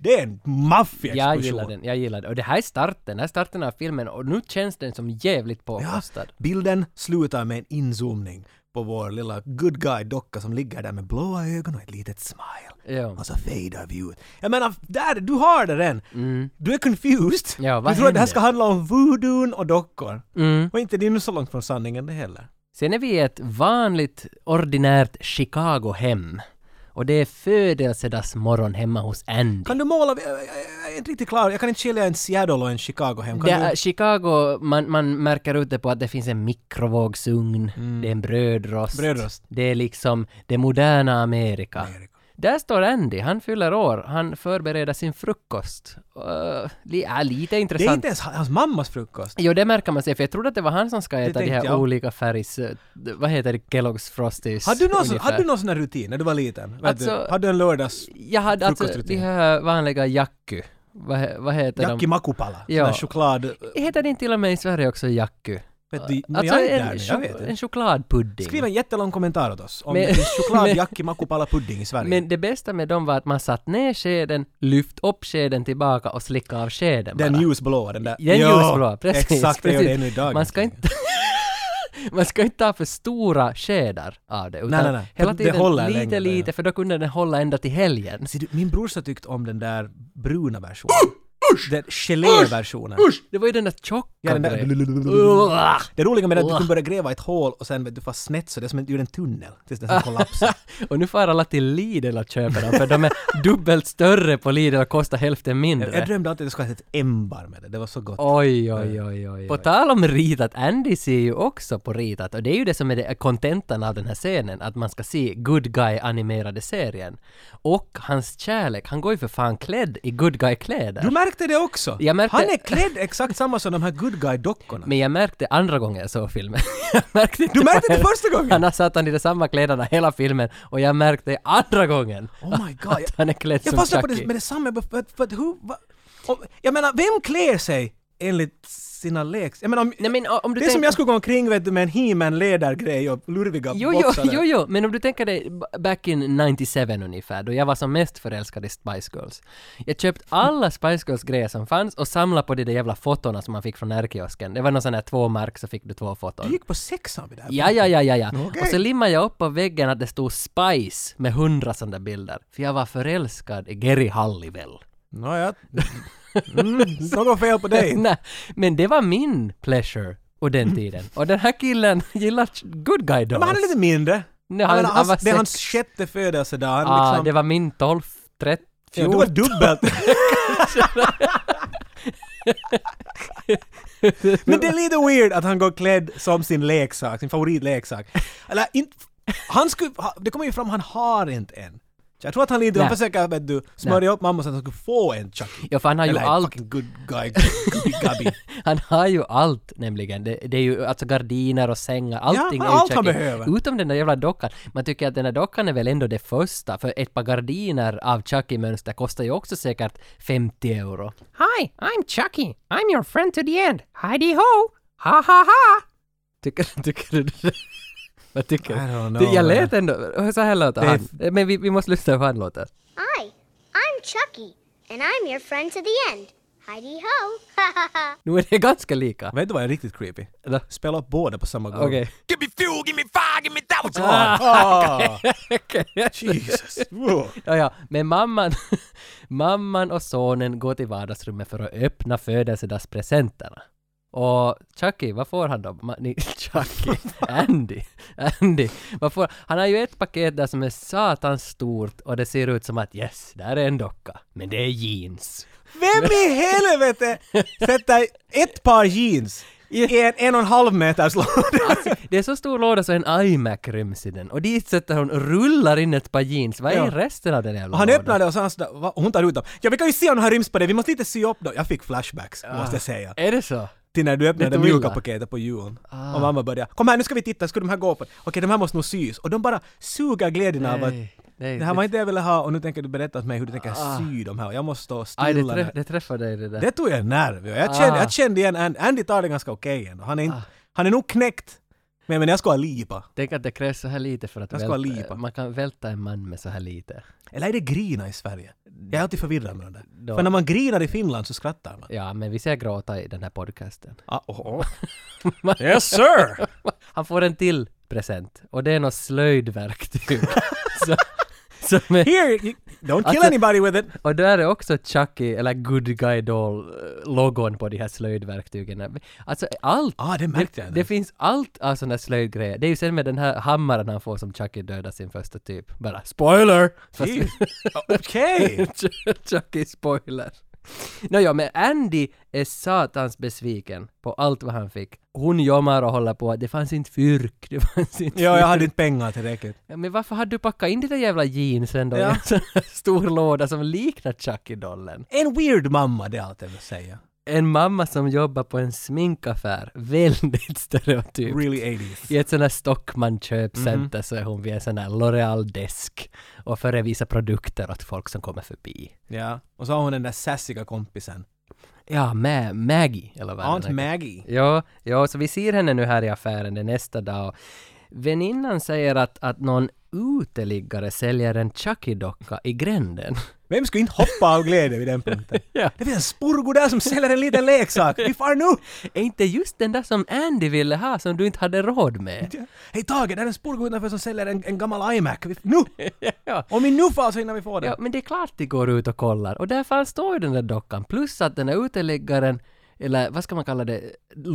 A: Det är en
B: Jag
A: maffiaexplosion.
B: gillar den, jag gillar den. Och det här är starten, den här starten av filmen och nu känns den som jävligt
A: Ja,
B: påkostad.
A: bilden slutar med en inzoomning på vår lilla good guy-docka som ligger där med blåa ögon och ett litet smile.
B: Ja.
A: Och så fader vi ut. Jag menar, där, du har det än! Du är confused!
B: Mm. Ja, vad
A: du tror att det här
B: händer?
A: ska handla om voodoo och dockor.
B: Mm.
A: Och inte det är nu så långt från sanningen det heller.
B: Sen är vi i ett vanligt ordinärt Chicago-hem. Och det är födelsedagsmorgon hemma hos Andy.
A: Kan du måla? Jag, jag, jag är inte riktigt klar. Jag kan inte skilja en Seattle och en Chicago hem. Kan
B: Det
A: du?
B: är Chicago, man, man märker ute på att det finns en mikrovågsugn, det är en brödrost.
A: Mm. Brödrost.
B: Det är liksom det moderna Amerika.
A: Amerika.
B: Där står Andy, han fyller år, han förbereder sin frukost. Uh, li, äh, lite
A: Det är
B: intressant.
A: inte ens hans mammas frukost.
B: Jo, det märker man sig, för jag trodde att det var han som ska äta de
A: tänkte
B: här
A: jag.
B: olika färgs... eh, Vad heter det? Kelloggs Frosties?
A: Hade du, någon, sån-
B: ungefär.
A: hade du någon sån här rutin när du var liten? Vet
B: Alltså-
A: du, hade du en lördags...
B: Jag hade alltså de
A: frukostrutin?
B: här vanliga jakku. Vad, he- vad heter
A: Jackie
B: de?
A: Makupala?
B: Ja.
A: Ja. choklad...
B: Heter det inte till och med i Sverige också jakku?
A: Vet du, men
B: Alltså
A: jag är inte där
B: en,
A: nu, jag
B: chok-
A: vet
B: en
A: inte.
B: chokladpudding.
A: Skriv en jättelång kommentar åt oss om
B: Men-
A: det finns choklad
B: [LAUGHS] men-
A: Jackie Makupala pudding i Sverige.
B: Men det bästa med dem var att man satt ner skeden, lyft upp skeden tillbaka och slickade av skeden
A: den
B: bara.
A: ljusblåa, den där.
B: Den
A: Ja,
B: ljusblå,
A: [LAUGHS]
B: precis.
A: Exakt, det gör
B: precis.
A: det ännu idag.
B: Man ska inte... Man ska inte [LAUGHS] ta för stora skedar av det, utan
A: Nej, nej, nej.
B: hela
A: För det
B: tiden
A: håller
B: lite,
A: längre,
B: lite,
A: ja.
B: för då kunde den hålla ända till
A: [LAUGHS]
B: helgen.
A: Ser du, min brorsa tyckte om den där bruna versionen. Usch! Den gelé-versionen. Usch!
B: Det var ju den där tjocka
A: Ja, den där... [LAUGHS]
B: grejen. Uah!
A: Det roliga med det är att du
B: Uah.
A: kan börja gräva ett hål och sen vet du fast snett så det är som en, ur en tunnel tills
B: Ah.
A: den sen kollapsar.
B: [LAUGHS] Och nu får alla till Lidl och köper dem, för de är
A: [LAUGHS]
B: dubbelt större på Lidl och kostar hälften mindre.
A: Jag drömde alltid att jag skulle ha ett ämbar med det, det var så gott.
B: Oj, oj, oj, oj. På tal om ritat, Andy ser ju också på ritat och det är ju det som är det- kontentan av den här scenen, att man ska se good guy-animerade serien. Och hans kärlek, han går ju för fan klädd i good guy-kläder.
A: Du märkte det också!
B: Jag märkte-
A: Han är klädd exakt samma som de här good guy-dockorna.
B: Men jag märkte andra gången jag såg filmen. [LAUGHS] jag märkte inte
A: Du
B: på
A: märkte det
B: hela-
A: första gången?
B: Annars satt han i de samma kläderna hela filmen och jag märkte det andra gången.
A: Oh my god!
B: [LAUGHS] Att han är klädd
A: jag
B: som
A: fastnade på det
B: Chucky.
A: med detsamma, bara för, att- för att hur... Va, om, jag menar, vem klär sig enligt sina leks... Jag menar, om,
B: Nej, men, o- om du
A: det är som
B: tänker-
A: jag skulle gå omkring vet du, med en he-man ledargrej och lurviga
B: Jo, jo,
A: boxare.
B: jo, jo, men om du tänker dig b- back in 97 ungefär, då jag var som mest förälskad i Spice Girls. Jag köpte alla Spice Girls-grejer som fanns och samlade på de där jävla fotona som man fick från R-kiosken. Det var någon sån här två mark så fick du två
A: Du
B: foton.
A: gick på sexan vid det här
B: Ja, ja, ja, ja, ja.
A: Okej.
B: Och så limmade jag upp på väggen att det stod Spice med hundra sådana där bilder. För jag var förälskad i Gary Halliwell.
A: Nåja. Mm, något fel på
B: [LAUGHS]
A: dig.
B: Nej, men det var min pleasure och
A: [LAUGHS]
B: den tiden. Och den här killen [LAUGHS] gillar good guy dolls.
A: Men han är lite mindre.
B: alltså. Nej,
A: Jag
B: han-
A: menar,
B: han var
A: hans, det är
B: sex.
A: hans sjätte födelsedag. Han
B: Ah,
A: liksom,
B: det var min 12, 13,
A: ja, du var dubbelt. [LAUGHS] Men det är lite weird att han går klädd som sin leksak, sin favoritleksak. Eller inte... Han skulle... ha- Det kommer ju fram, han har inte en. Jag tror att han lite... Han
B: Nej.
A: försöker vet du, smörja upp mamma så att han skulle få en Chucky.
B: Ja, för han har ju
A: Eller en
B: allt.
A: fucking good guy, gubbi
B: [LAUGHS]
A: gubbi.
B: Han har ju allt nämligen. Det, det är ju alltså gardiner och sängar, allting
A: Ja,
B: är ju
A: allt han
B: Chucky.
A: behöver.
B: Utom den där jävla dockan. Man tycker att den där dockan är väl ändå det första, för ett par gardiner av Chucky-mönster kostar ju också säkert 50 euro. Hi, I'm Chucky. I'm your friend to the end. Heidi ho! Ha ha ha! Tycker, [LAUGHS] tycker du det? Vad tycker
A: I don't
B: du?
A: know,
B: Jag lät
A: man.
B: ändå... Så här låter
A: Det är
B: han. Men vi, vi måste lyssna på hur han låter.
C: Hi, I'm Chucky, and I'm your friend to the end. Heidi ho! Ha ha [LAUGHS] ha!
B: Nu är det ganska lika.
A: Vet du vad är riktigt creepy?
B: Eller?
A: Spela upp båda på samma gång.
B: Okej. [LAUGHS]
A: Ah. Jesus. Whoa.
B: Ja, ja, men mamman, [LAUGHS] mamman och sonen går till vardagsrummet för att öppna födelsedagspresenterna. Och Chucky, vad får han då? Ma- ni, [LAUGHS] Chucky? Andy? Andy? Vad får, han har ju ett paket där som är satans stort och det ser ut som att yes, där är en docka. Men det är jeans.
A: Vem
B: [LAUGHS]
A: i helvete sätter ett par jeans i en en och en halv meters låda?
B: Det är så stor låda så en iMac ryms i den och dit sätter hon och rullar in ett par jeans. Vad är
A: Ja.
B: resten av den jävla
A: Och han
B: lådan?
A: öppnar det och så han sådär, va? Och hon tar ut dem. Ja vi kan ju se om den här ryms på det, vi måste inte sy upp dem. Jag fick flashbacks måste jag säga.
B: Är det så?
A: till när du öppnade det
B: Ah. Lite Ah.
A: mjuka
B: illa.
A: paketet på julen. Och mamma började Kom här nu ska vi titta, ska de här gå på? Okej de här måste nog sys. Och de bara suger glädjen av att
B: Nej, nej,
A: det här var inte det jag ville ha och nu tänker du berätta för mig hur du tänker sy de här och jag måste stå stilla.
B: Aj, det,
A: när-
B: träff, det träffar dig det där.
A: det tog jag nerv. Jag kände,
B: Ah.
A: jag kände igen Andy. Andy tar det ganska okej ändå. Han är, inte, han är nog knäckt. Men, men jag ska ha lipa.
B: Tänk att det krävs så här lite för att
A: Jag ska
B: välta.
A: lipa.
B: Man kan välta en man med så här lite.
A: Eller är det grina i Sverige? Jag är alltid förvirrad med det där.
B: Då-
A: För när man grinar i Finland så skrattar man.
B: Ja, men vi ser gråta i den här podcasten. [LAUGHS]
A: Ah, oh, oh. yes sir!
B: Han får en till present. Och det är något slöjdverktyg. [LAUGHS] så, som är,
A: Here, you, don't kill
B: Alltså-
A: anybody with it!
B: och där är också Chucky, eller Good Guy Doll-logon på de här slöjdverktygen. Alltså allt
A: Ah, det märkte jag.
B: Det finns allt av sådana slöjdgrejer. Det är ju sen med den här hammaren han får som Chucky dödar sin första typ. Bara spoiler! Fast-
A: Jeez. Okej!
B: [LAUGHS] Chucky spoiler. Nåja, men Andy är satans besviken på allt vad han fick. Hon jommar och håller på att det fanns inte fyrk, det fanns inte
A: Ja, jag
B: fyrk.
A: hade inte pengar tillräckligt.
B: Ja, Men varför hade du packat in de där jävla jeansen då i
A: Ja.
B: en sån här stor låda som liknar Chucky-dollen?
A: En weird mamma, det är allt jag vill säga.
B: En mamma som jobbar på en sminkaffär, väldigt stereotyp.
A: Really 80s.
B: I ett sånt här Stockman-köpcenter
A: Mhm.
B: så är hon vid en sån här L'Oreal-desk och förevisar produkter åt folk som kommer förbi.
A: Ja. Och så har hon den där sassiga kompisen.
B: Ja, Ma- Maggie eller vad
A: Aunt
B: den heter.
A: Maggie.
B: Ja, ja, så vi ser henne nu här i affären det är nästa dag och väninnan säger att, att någon uteliggare säljer en Chucky-docka i gränden. [LAUGHS]
A: Vem skulle inte hoppa av glädje vid den punkten?
B: Ja.
A: Det finns en spurgo där som säljer en liten leksak. Vi far nu!
B: Är inte just den där som Andy ville ha som du inte hade
A: [LAUGHS]
B: råd med?
A: Hej Tage, där är en spurgo utanför som säljer en, en gammal iMac. Vi, nu!
B: Ja.
A: Om vi nu far så innan vi får den.
B: Ja, men det är klart de går ut och kollar. Och där fanns står ju den där dockan. Plus att den här uteliggaren, eller vad ska man kalla det,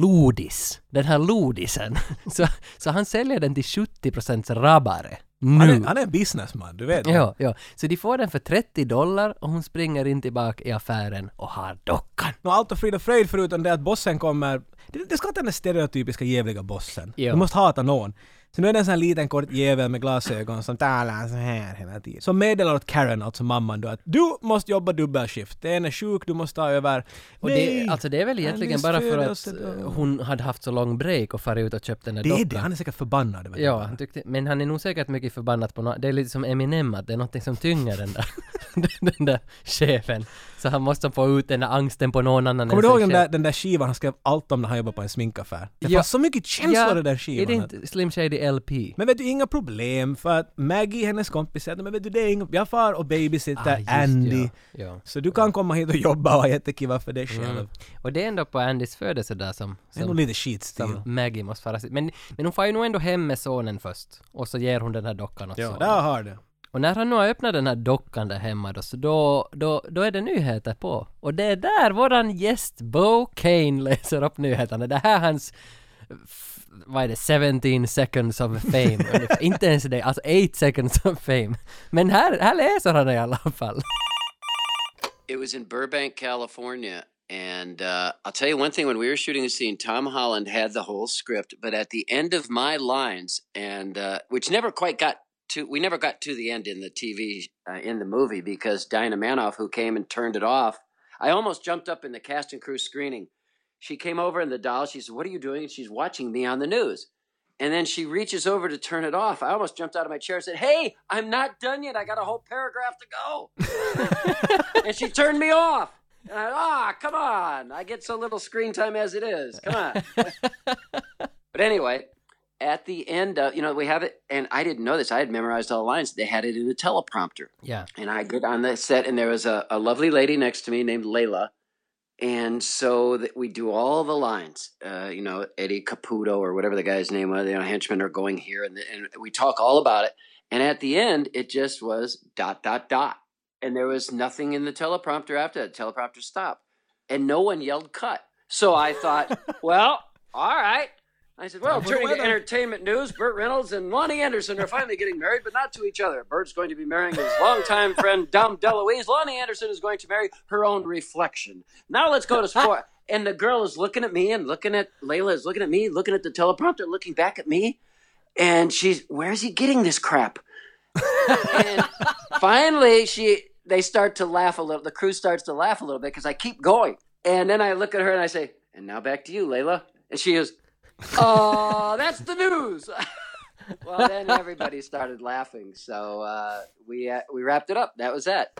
B: lodis. Den här lodisen. [LAUGHS] Så, så han säljer den till 70% rabbare. Nu.
A: Han, är, han är en businessman, du vet.
B: Ja, ja. Så de får den för 30 dollar och hon springer in tillbaka i affären och har dockan.
A: Nå, allt och frid och fröjd förutom det att bossen kommer... Det, det ska inte den där stereotypiska jävliga bossen.
B: Ja.
A: Du måste hata någon. Så nu är det en sån här liten kort jävel med glasögon som talar så här hela tiden. Som meddelar åt Karen, alltså mamman då, att du måste jobba dubbelskift. Den är sjuk, du måste ta över.
B: Och
A: Nej!
B: det, alltså det är väl egentligen
A: Hennes
B: bara för att
A: födelsedag.
B: eh, hon hade haft så lång break och farit ut och köpt den där
A: Det är
B: dockan.
A: det, han är säkert förbannad. över det
B: Ja,
A: bara.
B: han tyckte, men han är nog säkert mycket förbannad på något. Det är lite som Eminem, att det är något som tynger den där, [LAUGHS] den där chefen. Så han måste få ut den där angsten på någon annan
A: Kommer
B: än
A: du ihåg
B: sig
A: den
B: själv.
A: där, den där skivan han skrev allt om när han jobbade på en sminkaffär? Det
B: Ja.
A: fanns så mycket känslor i den
B: Är det
A: skivan.
B: inte Slim Shady LP?
A: Men vet du, inga problem för att Maggie, hennes kompis, säger men vet du, det är inga... Jag far och
B: Ah,
A: babysitter
B: just,
A: Andy.
B: ja, ja.
A: Så du kan komma hit och jobba och ha jättekiva för dig själv.
B: Mm. Och det är ändå på Andys födelsedag som,
A: Det är nog
B: som,
A: lite skitstil.
B: som Maggie måste fara sig. Men, men hon far ju nog ändå hem med sonen först. Och så ger hon den här dockan åt
A: Ja,
B: sonen.
A: där har du.
B: Och när han nu har öppnat den här dockan där hemma då, så då, då, då är det nyheter på. Och det är där våran gäst Bo Kane läser upp nyheterna. Det här är hans, f- vad är det, 17 seconds of fame. [LAUGHS] ungefär. Inte ens det, alltså 8 seconds of fame. Men här, här läser han det i alla fall.
D: It was in Burbank, California. And uh, I'll tell you one thing when we were shooting the scene, Tom Holland had the whole script, but at the end of my lines, and uh, which never quite got to, we never got to the end in the TV, uh, in the movie, because Diana Manoff, who came and turned it off, I almost jumped up in the cast and crew screening. She came over in the doll, she said, What are you doing? And she's watching me on the news. And then she reaches over to turn it off. I almost jumped out of my chair and said, Hey, I'm not done yet. I got a whole paragraph to go and she turned me off. And I, ah, come on. I get so little screen time as it is. Come on. but anyway, at the end of, you know, we have it, and I didn't know this. I had memorized all the lines. They had it in a teleprompter.
B: Ja.
D: And I get on the set, and there was a, a lovely lady next to me named Layla. And so that we do all the lines, uh, you know, Eddie Caputo or whatever the guy's name was, you know, henchmen are going here, and, and we talk all about it. And at the end, it just was dot dot dot, and there was nothing in the teleprompter after that. Teleprompter stopped, and no one yelled cut. So I
A: [LAUGHS]
D: thought, well, all right. I said, well,
A: Time for the
D: turning to
A: weather.
D: entertainment news, Burt Reynolds and Lonnie Anderson are finally getting married, but not to each other. Burt's going to be marrying his longtime friend, Dom DeLuise. Lonnie Anderson is going to marry her own reflection. Now
A: [LAUGHS]
D: let's go to sport. And the girl is looking at me and looking at Layla is looking at me, looking at the teleprompter, looking back at me. And she's, where is he getting this crap?
A: [LAUGHS]
D: and finally, she they start to laugh a little. The crew starts to laugh a little bit because I keep going, and then I look at her and I say, And now back to you, Layla. And she goes, Oh, that's the news. [LAUGHS] well, then everybody started laughing. So uh, we, uh, we wrapped it up. That was that.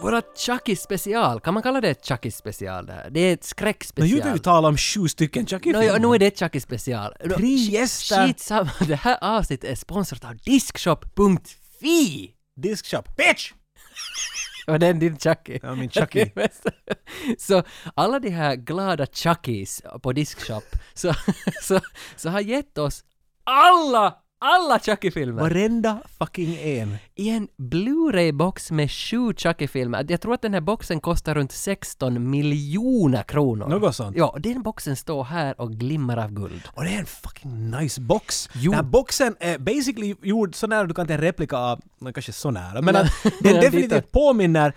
B: Våra Chucky special, kan man kalla det ett Chucky special det här? Det är ett
A: Men
B: skräckspecial.
A: nu vill vi tala om sju stycken
B: Nå, ja,
A: Chucky-filmer.
B: nu är det ett Chucky special. Nå,
A: Tre
B: sk-
A: gäster.
B: Skitsamma, [LAUGHS] det här avsnittet är sponsrat av Diskshop.fi!
A: Diskshop. Bitch!
B: Var den din Chucky?
A: Ja, min Chucky.
B: Okej, [LAUGHS] men- så alla de här glada Chuckies på Diskshop [LAUGHS] så, så, så har gett oss alla, alla Chucky-filmer!
A: Varenda fucking en.
B: I en Blu-ray-box med sju Chucky-filmer. Jag tror att den här boxen kostar runt 16 miljoner kronor.
A: Något sånt.
B: Ja, den boxen står här och glimmar av guld.
A: Och det är en fucking nice box.
B: Jo.
A: Den här boxen är basically gjord så nära du kan till en replika av, men kanske så nära, men att den
B: [LAUGHS] Ja,
A: definitivt
B: lite.
A: påminner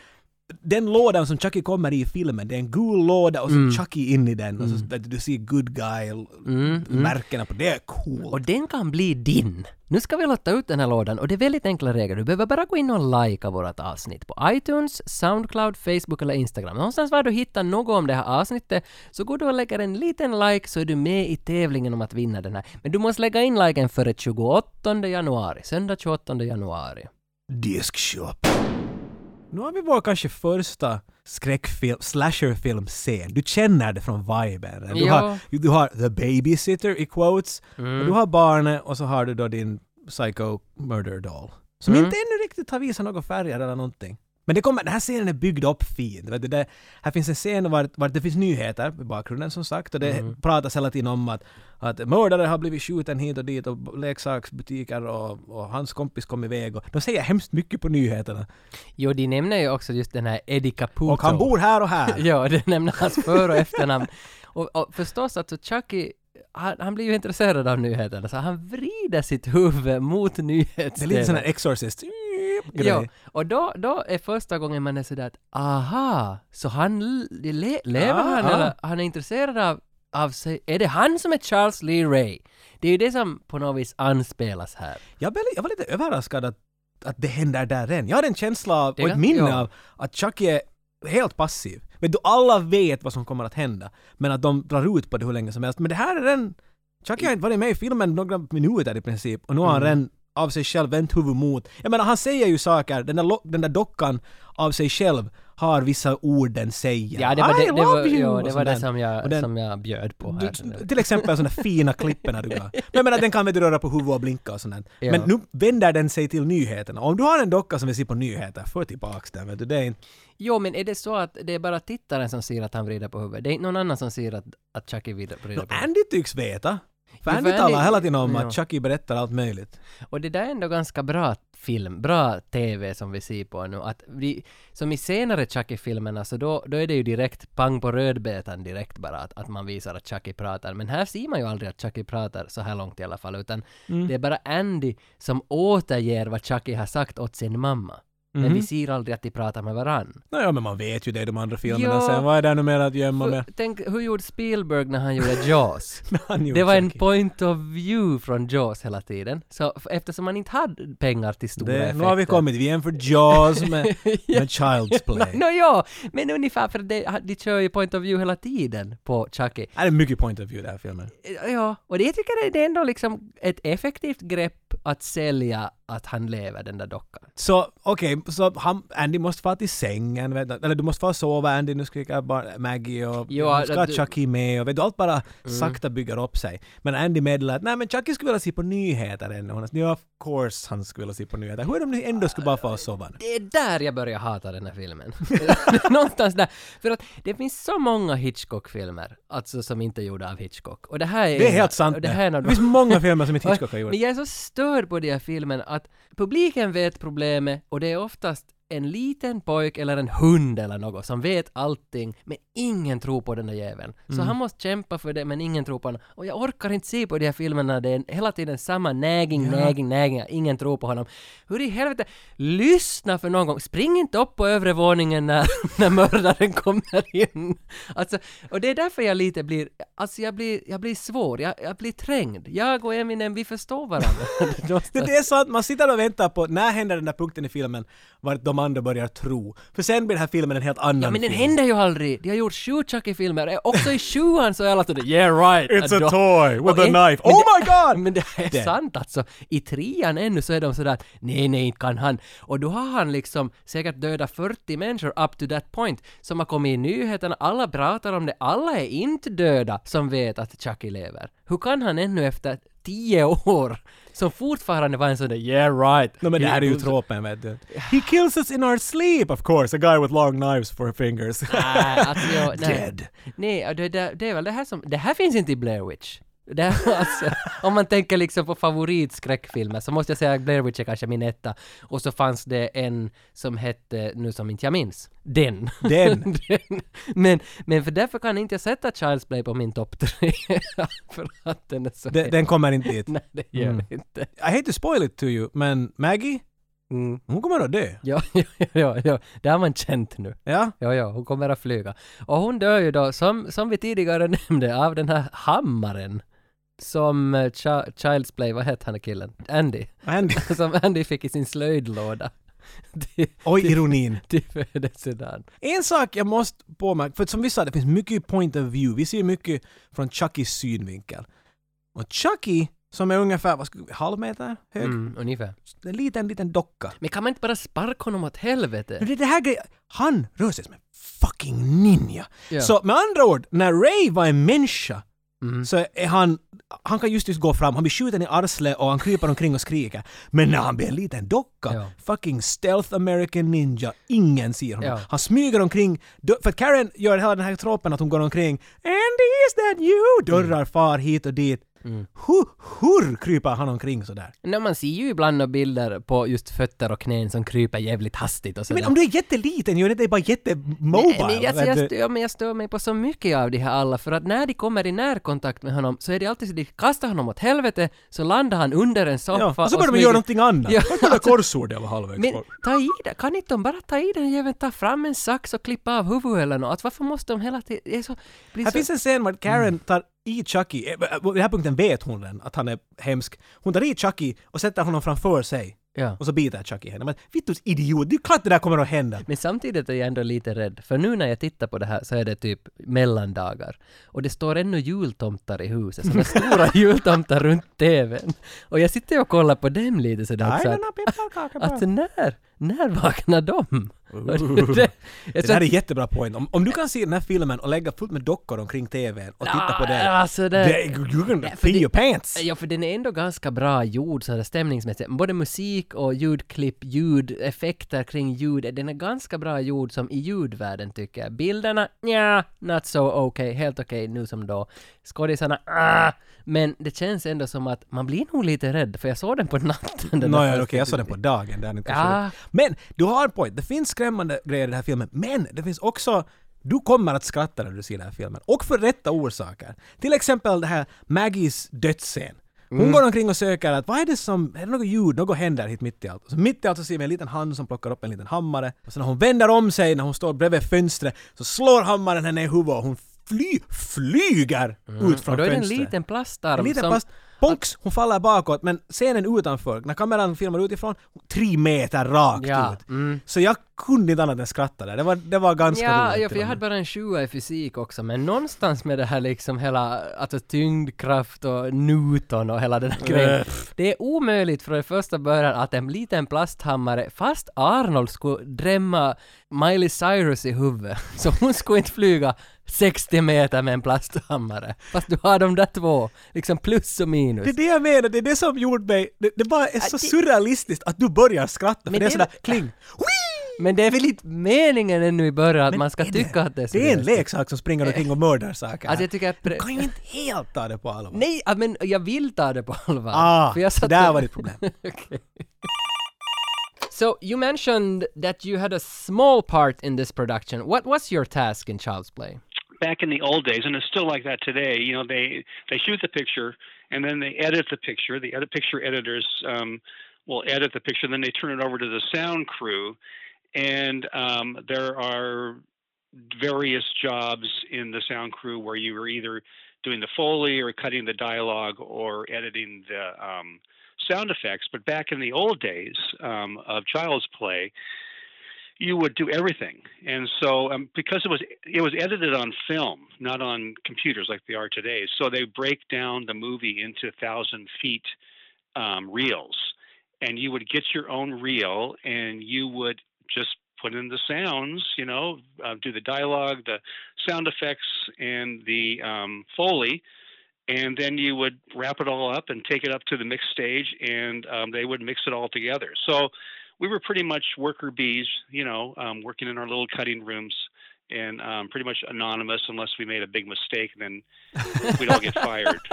A: den lådan som Chucky kommer i i filmen, det är en gul låda och så
B: Mm.
A: Chucky in i den och så att du ser good
B: mm.
A: guy-märkena på det. är
B: Och
A: coolt.
B: den kan bli din. Nu ska vi lotta ut den här lådan och det är väldigt enkla regler. Du behöver bara gå in och likea vårat avsnitt på iTunes, Soundcloud, Facebook eller Instagram. Någonstans var du hittar något om det här avsnittet så går du och lägger en liten like så är du med i tävlingen om att vinna den här. Men du måste lägga in liken före 28 januari, söndag 28 januari.
A: Diskshop. Nu har vi vår kanske första skräckfilm, slasherfilmscen. Du känner det från viben. Du,
B: Ja.
A: har, du har the babysitter i quotes, och du har barnet och så har du då din psycho murder doll. Som inte ännu riktigt har visat några färger eller någonting. Men det kommer, den här scenen är byggd upp fint. Vet du, det, här finns en scen var, var det finns nyheter i bakgrunden som sagt och det pratas hela tiden om att, att mördare har blivit skjuten hit och dit och leksaksbutiker och, och hans kompis kom iväg och de säger hemskt mycket på nyheterna.
B: Jo, de nämner ju också just den här Eddie Caputo.
A: Och han bor här och [LAUGHS] här.
B: Ja, det nämner hans för och efternamn. Och, och förstås att så Chucky, han, han blir ju intresserad av nyheterna, så han vrider sitt huvud mot
A: Det är lite sån här
B: nyhetsdelen.
A: exorcist grej.
B: Ja, och då, då är första gången man är sådär att aha, så han l- le, lever
A: Ah,
B: han
A: ah.
B: eller han är intresserad av, av sig, är det han som är Charles Lee Ray? Det är ju det som på något vis anspelas här.
A: Jag, blev, jag var lite överraskad att, att det händer där än. Jag hade en känsla av,
B: Det
A: och
B: kan-
A: ett minne
B: ja.
A: av att Chucky är helt passiv. Men då alla vet vad som kommer att hända. Men att de drar ut på det hur länge som helst. Men det här är den... Chucky har inte varit med i filmen några minuter i princip. Och nu har han
B: Mm.
A: redan av sig själv vänt huvud mot. Jag menar han säger ju saker, den där, lo- den där dockan av sig själv har vissa ord den säger.
B: Ja, det var det,
A: I
B: det,
A: love
B: var,
A: you!
B: ja,
A: och
B: det, var
A: sånt
B: det
A: där.
B: som
A: Och
B: jag,
A: den-
B: som jag bjöd på här.
A: du, till exempel sådana fina klippen
B: [LAUGHS]
A: du kan. Men jag menar den kan väl du röra på huvudet och blinka och sånt där.
B: Ja.
A: Men nu vänder den sig till nyheterna. Om du har en docka som vill se på nyheter, för tillbaks den vet du. Det är inte...
B: Jo, men är det så att det är bara tittaren som ser att han vrider på huvudet? Det är inte någon annan som ser att, att Chucky vrider på
A: Nå,
B: huvudet?
A: Andy tycks veta. För
B: Jo,
A: Andy
B: för
A: talar
B: Andy-
A: hela tiden om
B: ja.
A: att Chucky berättar allt möjligt.
B: Och det där är ändå ganska bra film, bra TV som vi ser på nu. Att vi, som i senare Chucky-filmerna så då, då är det ju direkt pang på rödbetan direkt bara att, att man visar att Chucky pratar. Men här ser man ju aldrig att Chucky pratar så här långt i alla fall utan det är bara Andy som återger vad Chucky har sagt åt sin mamma. Men vi ser aldrig att de pratar med varann.
A: Nåja, men man vet ju det i de andra filmerna
B: Ja.
A: sen. Vad är det nu mer att gömma med?
B: För, tänk, hur gjorde Spielberg när han gjorde Jaws?
A: När [LAUGHS] han gjorde
B: Det var en
A: Chucky.
B: point of view från Jaws hela tiden. Så f- eftersom man inte hade pengar till stora
A: det,
B: effekter.
A: nu har vi kommit, vi är för Jaws
B: [LAUGHS]
A: med, med Child's
B: Nå,
A: Play.
B: nå, [LAUGHS] ja, men ungefär för det, de kör ju point of view hela tiden på Chucky. Eh,
A: Det är mycket point of view i den här filmen.
B: Ja, och det jag tycker det är ändå liksom ett effektivt grepp att sälja att han lever den där dockan.
A: Så okej, så han, Andy måste vara till sängen, vet du. eller du måste vara sova Andy, nu skriker bara Maggie och
B: Jo,
A: ja, ska
B: att
A: ha
B: du- Mm.
A: Chucky med och vet du, allt bara sakta bygger upp sig. Men Andy meddelar att nej men Chucky skulle vilja se på nyheter ännu. Hon säger ja of course han skulle vilja se på nyheter. Hur är det om ni ändå skulle bara få sova nu?
B: Det är där jag börjar hata den
A: [LAUGHS]
B: här filmen. [LAUGHS] Någonstans där. För att det finns så många Hitchcock-filmer, alltså som inte är gjorda av Hitchcock. Och det här är...
A: Det är
B: en-
A: helt sant.
B: och Det här är en av
A: finns
B: de-
A: många filmer som inte Hitchcock har gjort.
B: Men jag är så störd på de här filmerna att publiken vet problemet och det är oftast en liten pojk eller en hund eller något som vet allting men Ingen tror på den där jäveln. Så
A: Mm.
B: han måste kämpa för det, men ingen tror på honom. Och jag orkar inte se på de här filmerna, det är en- hela tiden samma näging, näging, näging. Ingen tror på honom. Hur i helvete, lyssna för någon gång. Spring inte upp på övre våningen när, [LAUGHS] när mördaren kommer in. Alltså, och det är därför jag lite blir, alltså jag blir, jag blir svår, jag, jag blir trängd. Jag och Eminem, vi förstår varandra.
A: Det, det är så att man sitter och väntar på när händer den där punkten i filmen vart de andra börjar tro. För sen blir den här filmen en helt annan
B: Ja men den
A: film.
B: händer ju aldrig! De har gjort sju Chucky-filmer, också i sjuan så är alla sådär “Yeah right!”
A: It's a
B: Då-
A: toy with
B: Och
A: a
B: en-
A: knife.
B: men
A: Oh my
B: det-
A: God!
B: [LAUGHS] Men det är
A: Det.
B: sant alltså. I trean ännu så är de sådär “Nej, nej, inte kan han”. Och då har han liksom säkert dödat 40 människor up to that point som har kommit i nyheterna, alla pratar om det, alla är inte döda som vet att Chucky lever. Hur kan han ännu efter 10 år som fortfarande var en sån där “Yeah right!”
A: No, men det här är ju tropen vet du. He kills us in our sleep of course, a guy with long knives for fingers.
B: Nej, alltså jag, nej.
A: Dead.
B: Nej, och det, det, det är väl det här som, det här finns inte i Blair Witch. Det här, alltså, om man tänker liksom på favoritskräckfilmer så måste jag säga att Blair Witch är kanske min etta. Och så fanns det en som hette, nu som inte jag minns, den.
A: Den.
B: [LAUGHS] den. Men, men för därför kan inte jag sätta Child's Play på min topp tre. [LAUGHS] för att den är
A: [LAUGHS]
B: så...
A: den, den kommer inte dit. Mm.
B: Nej, det gör det inte.
A: I hate to spoil it to you, men Maggie,
B: Mm.
A: hon kommer att dö.
B: Ja, ja, ja, ja, det har man känt nu.
A: Ja?
B: Ja, ja, hon kommer att flyga. Och hon dör ju då, som, som vi tidigare [LAUGHS] nämnde, av den här hammaren. Som eh, Cha- Child's Play, vad hette han killen? Andy. [LAUGHS]
A: Andy.
B: Som Andy fick i sin slöjdlåda. [LAUGHS] till,
A: Oj, ironin.
B: till födelsedagen.
A: En sak jag måste påmärka, för som vi sa, det finns mycket point of view. Vi ser mycket från Chuckys synvinkel. Och Chucky, som är ungefär, vad skulle, halv meter hög?
B: Mm, ungefär.
A: Det är en liten, liten docka.
B: Men kan man inte bara sparka honom åt helvete?
A: Men det är det här grejen. Han rör sig som en fucking ninja.
B: Ja.
A: Så med andra ord, när Ray var en människa
B: Mm.
A: så är han, han kan just, just gå fram, han blir skjuten i arslet och han kryper omkring och skriker. Men när han blir en liten docka,
B: Ja.
A: fucking stealth American ninja, ingen ser honom.
B: Ja.
A: Han smyger omkring, dö- för att Karen gör hela den här tropen att hon går omkring “Andy is that
B: Mm.
A: you?” Dörrar far hit och dit. Hur, hur kryper han omkring sådär?
B: Nej, man ser ju ibland några bilder på just fötter och knän som kryper jävligt hastigt och sådär.
A: Men om du är jätteliten, gör det dig bara jättemobile.
B: Nej, men alltså,
A: vet
B: jag,
A: du?
B: stör, ja, men jag stör mig på så mycket av de här alla, för att när de kommer i närkontakt med honom så är det alltid så de kastar honom åt helvete, så landar han under en soffa
A: Ja, och så börjar de
B: smyger-
A: göra någonting annat.
B: Ja,
A: Ja, Vart alltså, korsordet var halvvägs
B: Men
A: bort?
B: ta i det, kan inte de bara ta i den jäveln, ta fram en sax och klippa av huvudet eller något? Alltså, varför måste de hela tiden... Det är så... Blir
A: Här
B: så Mm.
A: finns en scen var Karen tar i Chucky, eh, på den här punkten vet hon den, att han är hemsk. Hon tar i Chucky och sätter honom framför sig.
B: ja.
A: Och så biter Chucky henne. Men vittus idiot, det är klart det där kommer att hända.
B: Men samtidigt är jag ändå lite rädd, för nu när jag tittar på det här så är det typ mellandagar. Och det står ännu jultomtar i huset, sådana stora [LAUGHS] jultomtar runt TVn. Och jag sitter och kollar på dem lite sådär också.
A: Nej,
B: att-
A: den har pepparkaka på.
B: Att när, när vaknar de?
A: Ooh.
B: det,
A: Det där är jättebra poäng. Om, om du kan se den här filmen och lägga fullt med dockor omkring TVn och titta på det.
B: Alltså det,
A: det you're gonna
B: för
A: pee
B: det-
A: your pants!
B: Ja, för den är ändå ganska bra gjord sådär stämningsmässigt. Både musik och ljudklipp, ljudeffekter kring ljud. Den är ganska bra gjord som i ljudvärlden tycker jag. Bilderna, ja, not so okay. Helt okej nu som då. Skådisarna, ah. Men det känns ändå som att man blir nog lite rädd, för jag såg den på natten. den där
A: Nåja, okej,
B: första
A: jag såg den på
B: tiden.
A: dagen. Där den kanske-
B: Ja.
A: Men du har en poäng. Det finns skrämmande grejer i den här filmen, men det finns också du kommer att skratta när du ser den här filmen. Och för rätta orsaker. Till exempel det här Maggies dödsscen. Hon
B: Mm.
A: går omkring och söker att vad är det som, är det något ljud, något händer hit mitt i allt. Och så mitt i allt så ser vi en liten hand som plockar upp en liten hammare. Och sen när hon vänder om sig, när hon står bredvid fönstret, så slår hammaren henne i huvudet och hon fly, flyger ut från
B: Mm. Och då är det en
A: fönstret.
B: liten plastarm
A: En liten
B: som...
A: plast. Bonks! Hon faller bakåt men scenen utanför, när kameran filmar utifrån, tre meter rakt
B: Ja, mm.
A: ut. Så jag kunde inte annat än skratta där. Det var, det var ganska
B: Ja,
A: roligt.
B: ja, för jag hade bara en sjua i fysik också, men någonstans med det här liksom hela, alltså tyngdkraft och Newton och hela den
A: Eh.
B: här grejen. Det är omöjligt från första början att en liten plasthammare, fast Arnold skulle drämma Miley Cyrus i huvudet, [LAUGHS] så hon skulle inte flyga 60 meter med en plasthammare. Fast du har de där två, liksom plus och minus.
A: Det är det jag menar, det är det som gjorde mig... Det, det bara är så
B: det-
A: surrealistiskt att du börjar skratta för
B: Men
A: det är
B: det är-
A: sådär kling.
B: Men det är väl inte meningen ännu i början att man ska
A: är det?
B: tycka att det är så
A: Det är en
B: löst.
A: leksak som springer omkring och mördar saker.
B: Alltså jag tycker att...
A: Du kan ju inte helt ta det på allvar.
B: Nej, ah, men jag vill ta det på allvar.
A: Ah,
B: För jag satt
A: där
B: och-
A: var ditt problem.
B: Okej. So you mentioned that you had a small part in this production. What was your task in Child's Play?
E: back in the old days, and it's still like that today. You know, they they shoot the picture and then they edit the picture. The edit picture editors um, will edit the picture, then they turn it over to the sound crew, and um, there are various jobs in the sound crew where you are either doing the foley or cutting the dialogue or editing the um, sound effects. But back in the old days um, of Child's Play you would do everything. And so um, because it was it was edited on film, not on computers like they are today, so they break down the movie into thousand feet um, reels, and you would get your own reel, and you would just put in the sounds, you know, uh, do the dialogue, the sound effects, and the um, foley. And then you would wrap it all up and take it up to the mix stage, and um, they would mix it all together. So we were pretty much worker bees, you know, um, working in our little cutting rooms and um, pretty much anonymous unless we made a big mistake, then we'd all get fired. [LAUGHS]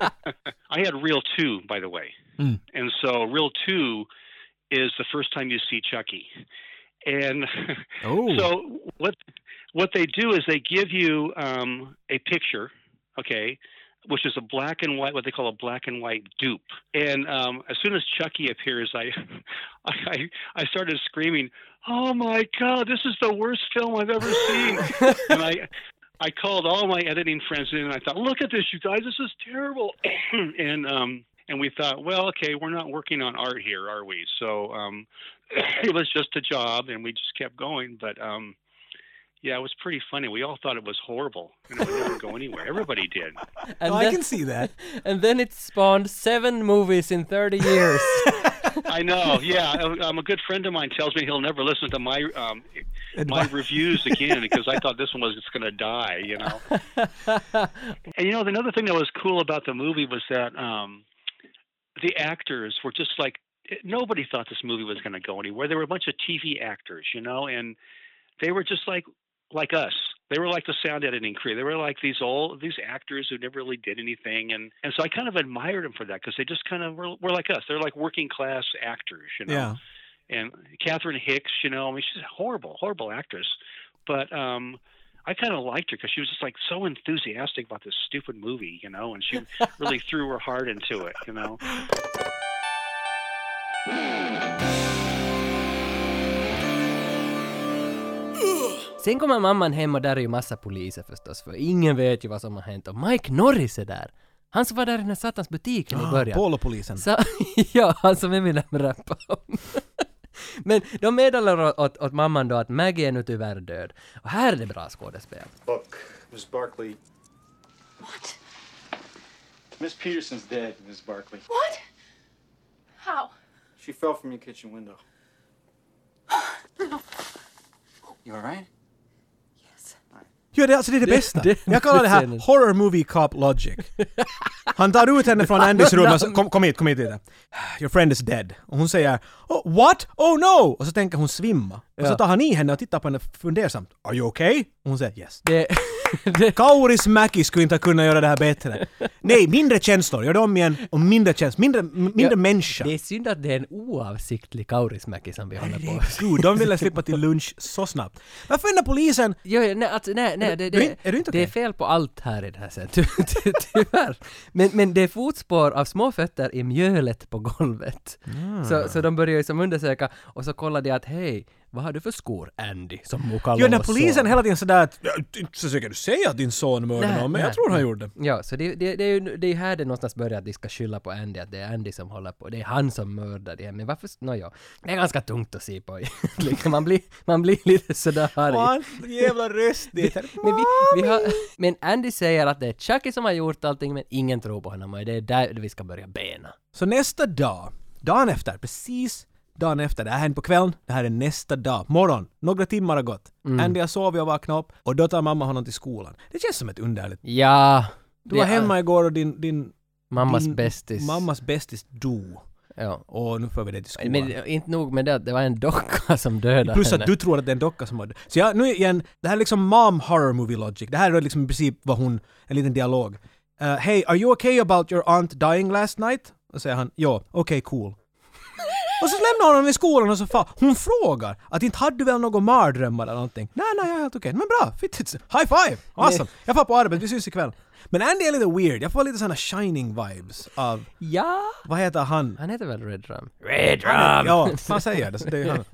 E: I had Reel 2, by the way. And so Reel 2 is the first time you see Chucky. And [LAUGHS]
A: Oh.
E: so what what they do is they give you um, a picture, okay, which is a black and white, what they call a black and white dupe. And um, as soon as Chucky appears, I, [LAUGHS] I I started screaming, "Oh my God! This is the worst film I've ever seen!" and I. I called all my editing friends in and I thought, look at this, you guys, this is terrible. [CLEARS THROAT] and um, and we thought, well, okay, we're not working on art here, are we? So um, [COUGHS] it was just a job, and we just kept going. But um, yeah, it was pretty funny. We all thought it was horrible, and it would never go anywhere. Everybody did.
B: And,
A: I
B: then,
A: can see that.
B: [LAUGHS] and then it spawned seven movies in 30 years.
E: I know. Yeah, um, a good friend of mine tells me he'll never listen to my um, my reviews again because I thought this one was just going to die. You know. and you know, another thing that was cool about the movie was that um, the actors were just like nobody thought this movie was going to go anywhere. There were a bunch of TV actors, you know, and they were just like like us. They were like the sound editing crew. They were like these old these actors who never really did anything, and and so I kind of admired them for that because they just kind of were, were like us. They're like working class actors, you know.
A: Yeah.
E: And Catherine Hicks, you know, I mean, she's a horrible, horrible actress, but um, I kind of liked her because she was just like so enthusiastic about this stupid movie, you know, and she really threw her heart into it, you know.
B: [LAUGHS] Sen kommer mamman hem och där är ju massa poliser förstås, för ingen vet ju vad som har hänt. Och Mike Norris är där! Han som var där i den här satans butiken
A: Ah,
B: i början.
A: Polopolisen.
B: Så, [LAUGHS] ja, han som Eminem rappar om. [LAUGHS] Men de meddelar åt, åt, åt mamman då att Maggie är nu tyvärr död. Och här är det bra skådespel.
G: Look, Miss Barkley.
H: What?
G: Miss Peterson's dead, Miss Barkley.
H: What? How?
G: She fell from your kitchen window. You all right?
A: Ja, det, alltså det är det, bästa.
B: det-
A: jag kallar det
B: scenen.
A: här Horror Movie Cop Logic. Han tar ut
B: [LAUGHS]
A: henne från Andys rum och så, kom, kom hit, kom hit lite. Your friend is dead. Och hon säger oh, “What? Oh no!” och så tänker hon svimma. Och så tar han i henne och tittar på henne fundersamt. “Are you okay?” och hon säger “Yes”. [LAUGHS]
B: Det, det,
A: Kauris Mäki skulle inte kunna göra det här bättre. Nej, mindre känslor. Gör det om igen. Och mindre känslor. Mindre, m- mindre
B: Ja,
A: människa.
B: det är synd att det är en oavsiktlig kaurismäki som vi håller på
A: Herregud, de ville slippa till lunch så snabbt. Varför är den där polisen...
B: Jo, jo, nej, alltså, nej, nej, det,
A: du
B: det,
A: in- är du inte
B: det är
A: okej?
B: fel på allt här i det här sen, [LAUGHS] ty, ty, tyvärr. Men, men det är fotspår av små fötter i mjölet på golvet.
A: Ah.
B: Så, så de börjar ju som undersöka och så kollar de att hej, vad har du för skor Andy som Mukalo
A: Gör den här polisen hela tiden sådär att... "Ja, Inte försöker du säga att din son mördade
B: Nej,
A: någon, men jag
B: nej,
A: tror han gjorde det.
B: Ja, så det, det, det är ju det är ju här det någonstans börjar att de ska skylla på Andy, att det är Andy som håller på, det är han som mördar det. Men varför, nåja, det är ganska tungt att se på [LAUGHS] egentligen. man, blir, man blir lite sådär arg.
A: Och hans jävla röst dit.
B: Men, vi, vi har, [LAUGHS] men Andy säger att det är Chucky som har gjort allting men ingen tror på honom och det är där vi ska börja bena.
A: Så nästa dag, dagen efter, precis dagen efter, det här hände på kvällen, det här är nästa dag, morgon, några timmar har gått.
B: Mm.
A: Andy har sovit och vaknat upp och då tar mamma honom till skolan. Det känns som ett underligt...
B: Ja,
A: Du
B: Det
A: var
B: är-
A: hemma igår och din... din
B: mammas
A: din
B: bästis.
A: Mammas bästis dog.
B: Ja.
A: Och nu för vi det till skolan.
B: Men inte nog med det, det var en docka [LAUGHS] som dödade
A: Plus
B: henne.
A: att du tror att det är en docka som har dött. Så jag, nu igen, det här är liksom mom horror movie logic. Det här är liksom i princip vad hon, en liten dialog. Eh, hey, are you okay about your aunt dying last night? Och säger han, ja, okej, cool. Och så lämnar hon honom i skolan och så far. Hon frågar att inte hade du väl några mardrömmar eller någonting? Nej, nej, jag är helt okej. Men bra, fittigt. High five! Awesome! Jag far på arbetet, vi syns ikväll. Men Andy är lite weird, jag får lite såna shining vibes av,
B: Ja!
A: vad heter han?
B: Han heter väl Red Drum?
A: Ja, [LAUGHS] han säger det. så det är ju han.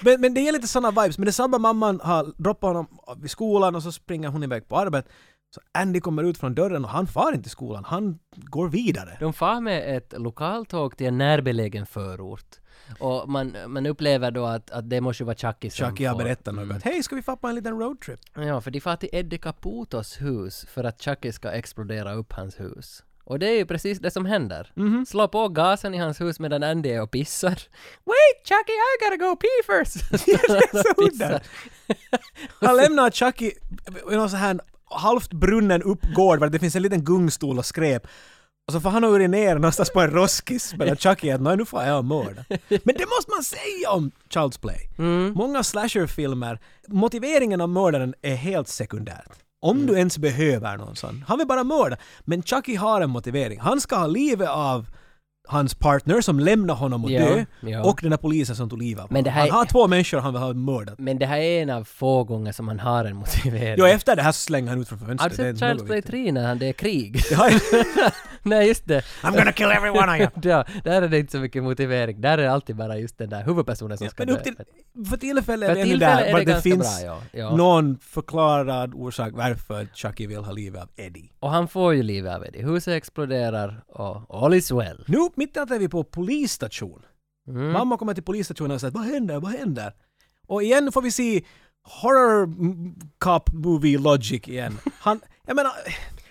A: Men, men det är lite såna vibes. Men det är samma mamman har droppat honom vid skolan och så springer hon iväg på arbetet. Så Andy kommer ut från dörren och han far inte till skolan, han går vidare.
B: De far med ett lokaltåg till en närbelägen förort. Och man, man upplever då att, att det måste ju vara Chucky som
A: Chucky har
B: får-
A: berättat något. Hej, ska vi far på en liten roadtrip?
B: Ja, för de far till Eddie Caputos hus för att Chucky ska explodera upp hans hus. Och det är ju precis det som händer.
A: Mhm.
B: Slå på gasen i hans hus medan Andy är och pissar.
A: [LAUGHS]
B: Wait Chucky, I gotta go pee [LAUGHS] first!
A: det är så
B: Och
A: udda. Han
B: Alltså-
A: lämnar Chucky i någon sån här halvt brunnen uppgård där det finns en liten gungstol och skräp. Och så får han urinera någonstans på en roskis medan Chucky att "Nej, nu får jag mörda. Men det måste man säga om Child's Play.
B: Mm.
A: Många slasherfilmer, motiveringen av mördaren är helt sekundärt. Om
B: Mm.
A: du ens behöver någon sån. Han vill bara mörda. Men Chucky har en motivering. Han ska ha livet av hans partner som lämnar honom och
B: Ja,
A: dö
B: ja.
A: och den där polisen som tog livet av
B: Men det
A: honom. Han
B: här-
A: har två människor han vill ha mördat.
B: Men det här är en av få gånger som han har en motivering.
A: Jo, efter det här så slänger han ut från
B: har du
A: fönstret.
B: sett
A: Det är något
B: Child's Play
A: viktigt.
B: 3 när han, det är krig? [LAUGHS]
A: Ja,
B: Nej, just det. [LAUGHS]
A: I'm gonna kill everyone I am!
B: Ja, där är det inte så mycket motivering. Där är det alltid bara just den där huvudpersonen som ska
A: Men
B: dö.
A: upp till, för tillfället
B: För
A: är det ännu
B: tillfället
A: där,
B: är
A: var
B: det
A: det
B: ganska
A: finns
B: bra, ja. Ja.
A: någon förklarad orsak varför Chucky vill ha livet av Eddie.
B: Och han får ju livet av Eddie. Huset exploderar och all is well.
A: Nu mittat är vi på polisstation. Mamma kommer till polisstationen och säger vad händer, vad händer? Och igen får vi se horror m- cop movie logic igen. Han, jag menar,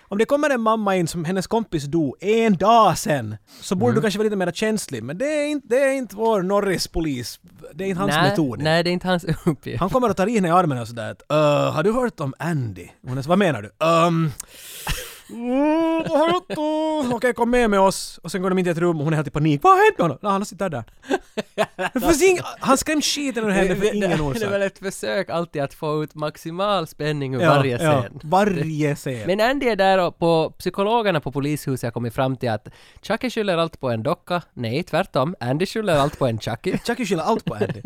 A: om det kommer en mamma in som hennes kompis dog en dag sen så borde du kanske vara lite mer känslig. Men det är inte, det är inte vår Norris polis. Det är inte hans
B: nej,
A: metod.
B: Nej, det är inte hans [LAUGHS] uppgift.
A: Han kommer och tar i henne i armen och sådär att "Öh, har du hört om Andy? Hon är så, vad menar du? Um, mm, vad har jag gjort då?" Okej, kom med med oss. Och sen går de in till ett rum och hon är helt i panik. Vad har hänt med honom? Nej, han sitter där. Det finns ing- han skrämde skiten ur henne för ingen
B: det, det är väl
A: orsak.
B: ett försök alltid att få ut maximal spänning ur
A: Ja,
B: varje
A: ja,
B: scen.
A: varje scen.
B: Men Andy är där och på psykologerna på polishuset har kommit fram till att Chucky skyller allt på en docka. Nej, tvärtom. Andy skyller allt på en Chucky.
A: Chucky skyller allt E på Andy.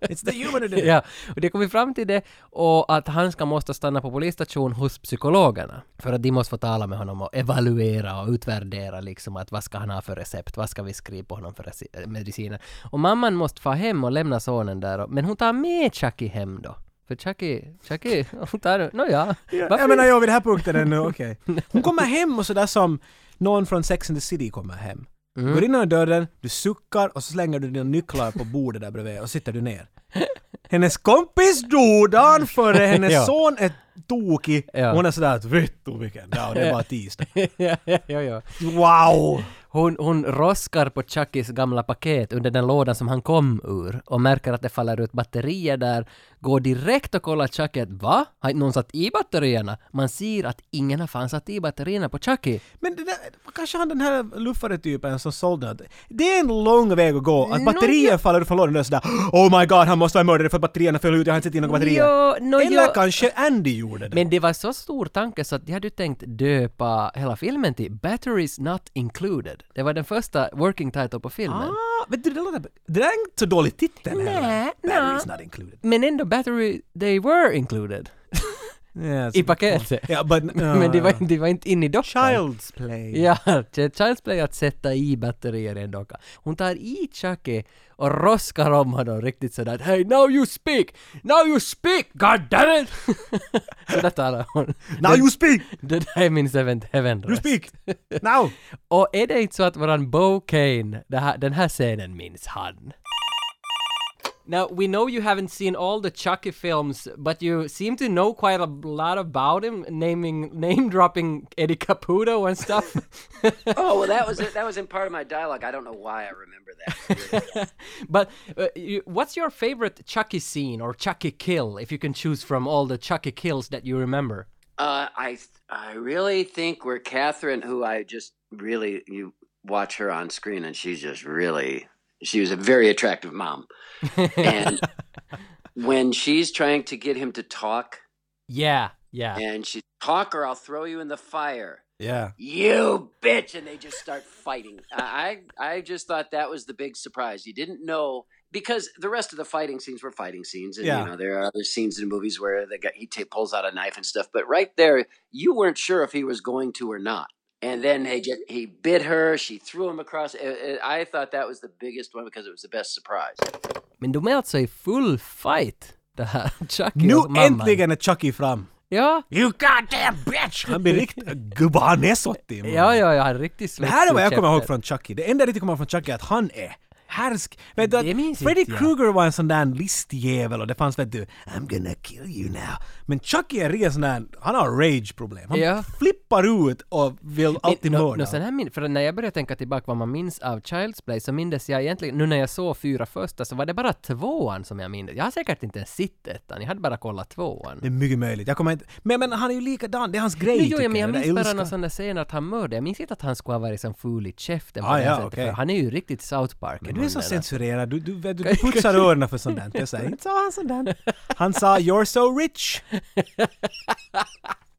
A: It's the human in it.
B: [LAUGHS] Ja, och det kom vi fram till det och att han ska måste stanna på polisstation hos psykologerna för att de måste få tala med honom och evaluera och utvärdera liksom att vad ska han ha för recept, vad ska vi skriva på honom för reci- eh, mediciner. Och mamman måste få hem och lämna sonen där och- men hon tar med Chucky hem då. För Chucky, Chucky, hon tar, nåja.
A: Ja,
B: varför-
A: jag menar, jag vid den här punkten
B: [LAUGHS]
A: ännu, okej. Hon kommer hem och sådär som någon från Sex and the City kommer hem.
B: Mm.
A: Går in genom dörren, du suckar och så slänger du dina nycklar på bordet där bredvid och sitter du ner. Hennes kompis dog
B: [LAUGHS]
A: dagen före, hennes
B: Ja.
A: son är tokig
B: Ja.
A: och hon är sådär att vet du vilken dag, det är bara
B: [LAUGHS]
A: tisdag.
B: [LAUGHS] ja, ja, ja, ja.
A: Wow!
B: Hon, hon roskar på Chuckys gamla paket under den lådan som han kom ur och märker att det faller ut batterier där. Går direkt och kollar Chucky att va? Har inte någon satt i batterierna? Man ser att ingen har fan satt i batterierna på Chucky.
A: Men det där, kanske han den här luffare typen som sålde något. Det är en lång väg att gå, att batterier faller ut från lådan och sådär Oh my god, han måste vara mördare för batterierna föll ut, jag har inte sett in några batterier.
B: Jo, nå,
A: Eller
B: jo.
A: kanske Andy gjorde det.
B: Men det var så stor tanke så att jag hade ju tänkt döpa hela filmen till “Batteries Not Included”. Det var den första working title på filmen.
A: Ah, men det, låter, det där är inte så dålig titel heller.
B: Nej,
A: Batteries not included.
B: Men ändå “Battery They Were Included”
A: Yes.
B: i paketet.
A: Ja, but,
B: [LAUGHS]
A: uh,
B: Men det var, de var inte inne i dockan.
A: Child's play.
B: Ja, [LAUGHS] det är Child's Play att sätta i batterier i en docka. Hon tar i Chucky och roskar om honom riktigt sådär Hey now you speak! Now you speak! God damn it! [LAUGHS] sådär talar hon.
A: Now you speak!
B: Det där är min Seventh heaven
A: You
B: [LAUGHS]
A: speak! Now!
B: Och är det inte så att våran Bo Kane, det här, den här scenen minns han? Now we know you haven't seen all the Chucky films, but you seem to know quite a lot about him, naming name dropping Eddie Caputo and
A: [LAUGHS]
B: stuff.
D: Oh, well, that was that was in part of my dialogue. I don't know why I remember that.
B: But uh, you, what's your favorite Chucky scene or Chucky kill, if you can choose from all the Chucky kills that you remember?
D: uh, I I really think where Catherine, who I just really you watch her on screen, and she's just really she was a very attractive mom, and when she's trying to get him to talk,
B: Yeah, yeah.
D: and she talk or I'll throw you in the fire.
A: Yeah.
D: you bitch and they just start fighting I, I i just thought that was the big surprise you didn't know because the rest of the fighting scenes were fighting scenes and
A: Yeah.
D: you know there are other scenes in movies where the guy he ta pulls out a knife and stuff but right there you weren't sure if he was going to or not and then they just, he bit her she threw him across Uh, uh, i thought that was the biggest one because it was the best surprise
B: Men de är alltså i full fight, [LAUGHS] det här Chucky
A: Nu
B: och mamman.
A: äntligen är Chucky fram.
B: Ja,
A: You goddamn bitch! Han blir riktigt
B: [LAUGHS]
A: gubbanesottig. man.
B: ja, ja, ja, han är riktigt
A: Det här är vad jag
B: svettig i
A: kommer ihåg
B: käften.
A: från Chucky. Det enda jag riktigt kommer ihåg från Chucky är att han är härsk. Vet du,
B: Det
A: att
B: minns
A: Freddy
B: inte jag.
A: Krueger var en sån där listjävel och det fanns vet du I'm gonna kill you now. Men Chucky är riktigt sån där, han har rage-problem. Han
B: Ja.
A: flippar ut och vill alltid
B: Men nå-
A: mörda.
B: nå, sen här min, för när jag började tänka tillbaka vad man minns av Child's Play så mindes jag egentligen, nu när jag såg fyra första så var det bara tvåan som jag mindes. Jag har säkert inte ens sett ettan, jag hade bara kollat tvåan.
A: det är mycket möjligt. Jag kommer inte... Men, men han är ju likadan, det är hans grej
B: Nu, jo, ja,
A: tycker
B: men jag
A: Den
B: minns
A: där
B: bara
A: ilskan.
B: någon sån där scen att han mördade. Jag minns inte att han skulle ha varit som ful i käften. på
A: Ah,
B: det
A: ja,
B: sättet,
A: okej.
B: för Han är ju riktigt South Park.
A: Men du är så censurerad, du, du, vet
B: [LAUGHS]
A: du, du putsar öronen för sånt där. Jag säger inte sa han sånt där. Han sa “You're so
B: [LAUGHS]
A: rich”.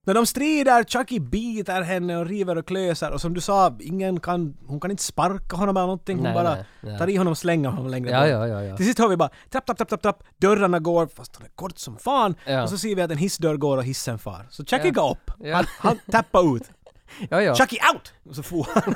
A: När de strider, Chucky biter henne och river och klöser och som du sa, ingen kan, hon kan inte sparka honom eller någonting. Hon
B: Nej,
A: bara
B: nej, nej.
A: tar i honom och slänger honom längre
B: Ja,
A: bort.
B: ja, ja, ja.
A: Till sist hör vi bara trapp, trapp, trapp, trapp, trapp, dörrarna går, fast den är kort som fan.
B: Ja.
A: Och så ser vi att en hissdörr går och hissen far. Så Chucky
B: Ja.
A: går upp.
B: Ja.
A: Han, han tappar ut.
B: [LAUGHS] Ja, ja.
A: Chucky out! Och så får han.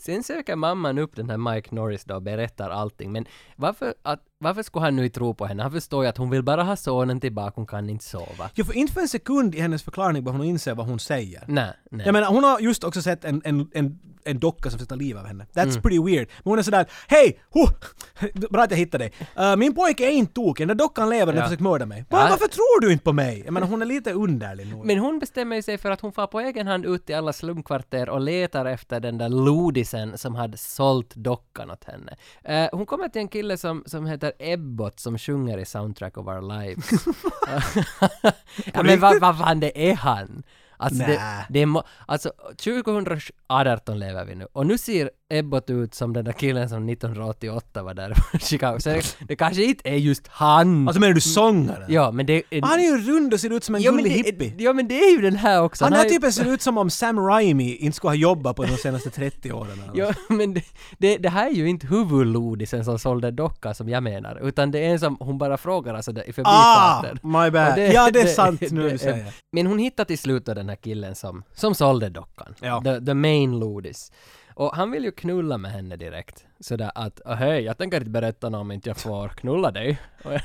B: Sen söker mamman upp den här Mike Norris då och berättar allting. Men varför, att, varför skulle han nu tro på henne? Han förstår ju att hon vill bara ha sonen tillbaka, hon kan inte sova.
A: Jag får inte för en sekund i hennes förklaring bara hon inser vad hon säger.
B: Nej, nej.
A: Jag menar, hon har just också sett en, en, en, en docka som försöker ta livet av henne. That's
B: Mm.
A: pretty weird. Men hon är sådär ”Hej! Huh, bra att jag hittade dig. Eh, min pojke är inte tokig. Den där dockan lever, den
B: Ja.
A: har försökt mörda mig. Va,
B: Ja.
A: Varför tror du inte på mig?” Jag menar, hon är lite underlig nog.
B: Men hon bestämmer ju sig för att hon far på egen hand ut i alla slumkvarter och letar efter den där lodisen som hade sålt dockan åt henne. Eh, hon kommer till en kille som, som heter Ebbot som sjunger i Soundtrack of Our
A: [LAUGHS]
B: Lives. ja, men vad vad fan, det är han! Alltså, det,
A: Nä.
B: det är må- alltså 2018 lever vi nu och nu ser Ebbot ut som den där killen som 1988 var där i Chicago. Så det kanske inte är just han!
A: Alltså menar du sångaren?
B: Mm. ja, men det är...
A: Han är ju rund och ser ut som en
B: Ja men,
A: gullig
B: det,
A: hippie.
B: ja men det är ju den här också.
A: han typ-
B: har
A: här
B: ju-
A: typen ser ut som om Sam Raimi inte skulle ha jobbat på de senaste 30 åren. eller
B: Ja, men det, det, det här är ju inte huvudlodisen som sålde docka som jag menar, utan det är en som hon bara frågar alltså där i
A: Ah,
B: förbifarten.
A: my bad.
B: Och
A: Ja, det är sant nu när du
B: är-
A: säger.
B: Men hon hittar till slut då den här killen som, som sålde dockan.
A: Ja.
B: The, the main lodis. Och han vill ju knulla med henne direkt. Sådär att "Åh, hej, jag tänker inte berätta något om inte jag får knulla dig. [LAUGHS]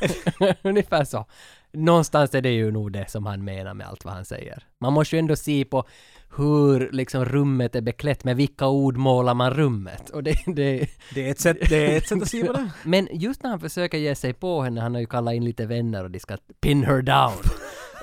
B: Ungefär så. Någonstans är det ju nog det som han menar med allt vad han säger. Man måste ju ändå se på hur liksom rummet är beklätt, med vilka ord målar man rummet? Och det, det,
A: Det är ett sätt, det är ett sätt att
B: [LAUGHS]
A: se på det.
B: men just när han försöker ge sig på henne, han har ju kallat in lite vänner och de ska pin her [LAUGHS] down.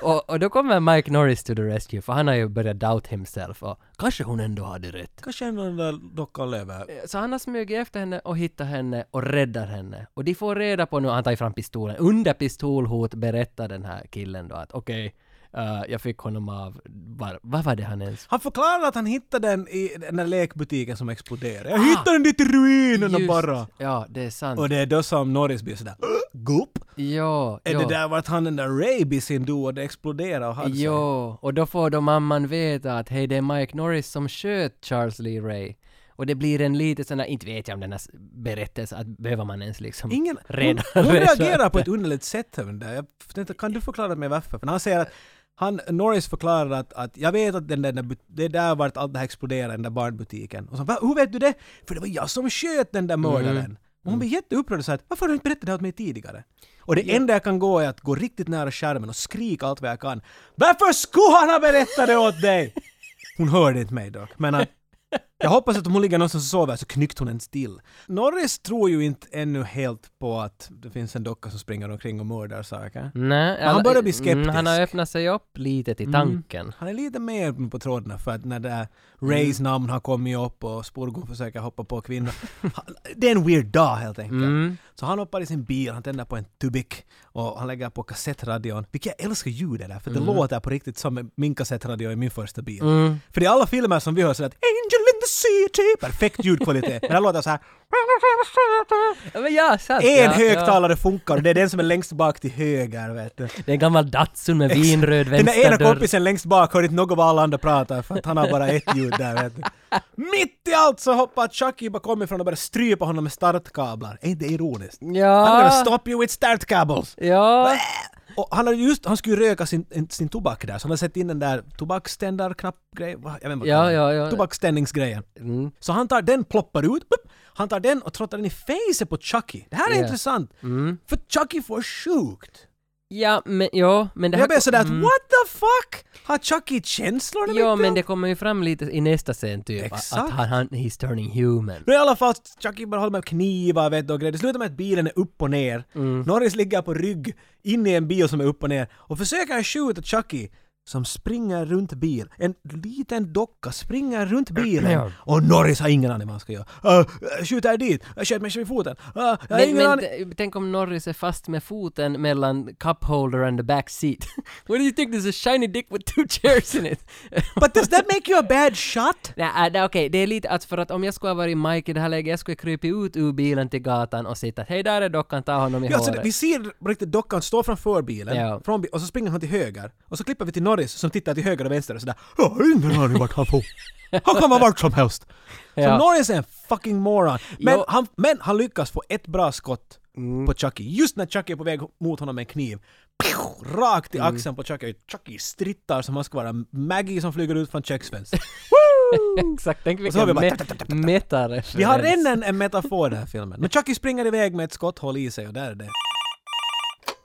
B: och, och då kommer Mike Norris to the rescue, för han har ju börjat doubt himself och kanske hon ändå hade rätt.
A: Kanske ändå den där dockan lever.
B: Så han har smugit efter henne och hittat henne och räddar henne. Och de får reda på nu, han tar ju fram pistolen, under pistolhot berättar den här killen då att okej, eh, jag fick honom av, var, vad var det han ens
A: Han förklarade att han hittade den i den där lekbutiken som exploderade. Jag hittade den dit i ruinerna
B: Ah, Just-
A: bara!
B: Ja, det är sant.
A: Och det är då som Norris blir sådär "Åh, Gupp!
B: ja,
A: Är
B: ja.
A: det där vart han den där rabisen då och det exploderade och hade sig?
B: Jo, och då får då mamman veta att hej, det är Mike Norris som sköt Charles Lee Ray. Och det blir en liten sån där, inte vet jag om den här s- berättelsen, att behöver man ens liksom
A: Ingen...
B: reda
A: hon, hon
B: reda-
A: reagerar på ett underligt sätt här men där. Jag tänkte, kan du förklara mig varför? För när han säger att han, Norris förklarar att, att jag vet att den där, den där but- det är där vart allt det här exploderade, den där barnbutiken. Och så "Va? hur vet du det? För det var jag som sköt den där mördaren. Och hon blir jätteupprörd och säger att varför har du inte berättat det här åt mig tidigare? Och det enda jag kan gå är att gå riktigt nära skärmen och skrika allt vad jag kan. Varför skulle han ha berättat det åt dig? Hon hörde inte mig dock, men att jag hoppas att om hon ligger någonstans och sover så knyckte hon ens till. Norris tror ju inte ännu helt på att det finns en docka som springer omkring och mördar saker.
B: Nej, alla-
A: börjar bli
B: mm, Han har
A: skeptisk. Mm.
B: öppnat sig upp lite till tanken.
A: Han är lite mer på trådarna för att när det där Rays
B: Mm.
A: namn har kommit upp och Spurgon försöker hoppa på kvinnor. Han- det är en weird dag helt enkelt.
B: Mm.
A: Så han hoppar i sin bil, han tänder på en tubik och han lägger på kassettradion. Vilket jag älskar ljudet där för
B: Mm.
A: det låter på riktigt som min kassettradio i min första bil. För i alla filmer som vi hör så är det att “Angel in the CT! Perfekt ljudkvalitet. Men den låter
B: [LAUGHS]
A: så här.
B: Ja, Men ja, sant.
A: En
B: ja, ja.
A: högtalare funkar och det är den som är längst bak till höger, vet du.
B: Det är en gammal Datsun med vinröd
A: Den där ena
B: vänsterdörr.
A: kompisen längst bak hör inte något vad alla andra pratar för att han har bara ett ljud där, vet du. Mitt i allt så hoppar Chucky bakom ifrån och börjar strypa honom med startkablar. Är inte det ironiskt? I'm gonna
B: Ja,
A: stop you with startcables!
B: ja.
A: Och han, hade just, han skulle ju röka sin, en- sin tobak där, så han hade sett in den där tobaksständarknappgrejen, jag vet inte vad
B: Ja,
A: kallar
B: ja, Mm.
A: den.
B: ja.
A: Tobaksständningsgrejen. Så han tar den, ploppar ut, plopp, han tar den och trottar den i facet på Chucky. Det här är
B: Ja. Mm.
A: intressant, för Chucky får sjukt.
B: Ja, men, ja, men det här...
A: jag blev
B: kom-
A: sådär att
B: Mm.
A: what the fuck? Har Chucky känslor eller
B: Ja,
A: mitt i
B: men
A: allt?
B: det kommer ju fram lite i nästa scen typ. Exakt. Att
A: Exakt.
B: han, han, he's turning human.
A: Nu i alla fall, Chucky bara håller med knivar vet du, och grejer. Det slutar med att bilen är upp och ner.
B: Mm.
A: Norris ligger på rygg inne i en bil som är upp och ner och försöker skjuta Chucky som springer runt bilen. En liten docka springer runt bilen. Och Norris har ingen aning vad han ska göra. Uh, skjuter jag dit? Jag sköt mig själv i foten. Uh, jag har
B: Men,
A: ingen
B: men
A: aning.
B: t- tänk om Norris är fast med foten mellan cup holder and the back seat. [LAUGHS] What do you think? There's a shiny dick with two chairs in it. [LAUGHS]
A: But does that make you a bad shot?
B: Nej, äh, det- okej, det är lite att för att om jag skulle ha varit Mike i det här läget, jag skulle krypa ut ur bilen till gatan och sitta att hej där är dockan, ta honom i
A: Ja, alltså,
B: håret.
A: vi ser riktigt dockan stå framför bilen,
B: Ja.
A: från bi- och så springer han till höger. Och så klipper vi till Norris som tittar till höger och vänster och sådär Jag har ingen aning vart han
B: [LAUGHS]
A: får. Han kan vara vart som helst. Så
B: Ja.
A: Norris är en fucking moron. Men
B: Jo.
A: han, men han lyckas få ett bra skott på Chucky. Just när Chucky är på väg mot honom med en kniv. Pju! Rakt
B: Mm.
A: i axeln på Chucky. Chucky strittar som han ska vara Maggie som flyger ut från
B: [LAUGHS]
A: köksfönstret.
B: Exakt, tänk
A: så har
B: vilken
A: vi bara
B: me-
A: ta- ta- ta- ta- ta.
B: metareferens.
A: Vi har redan en- en metafor i den här filmen. Men Chucky springer iväg med ett skotthål i sig och där är det.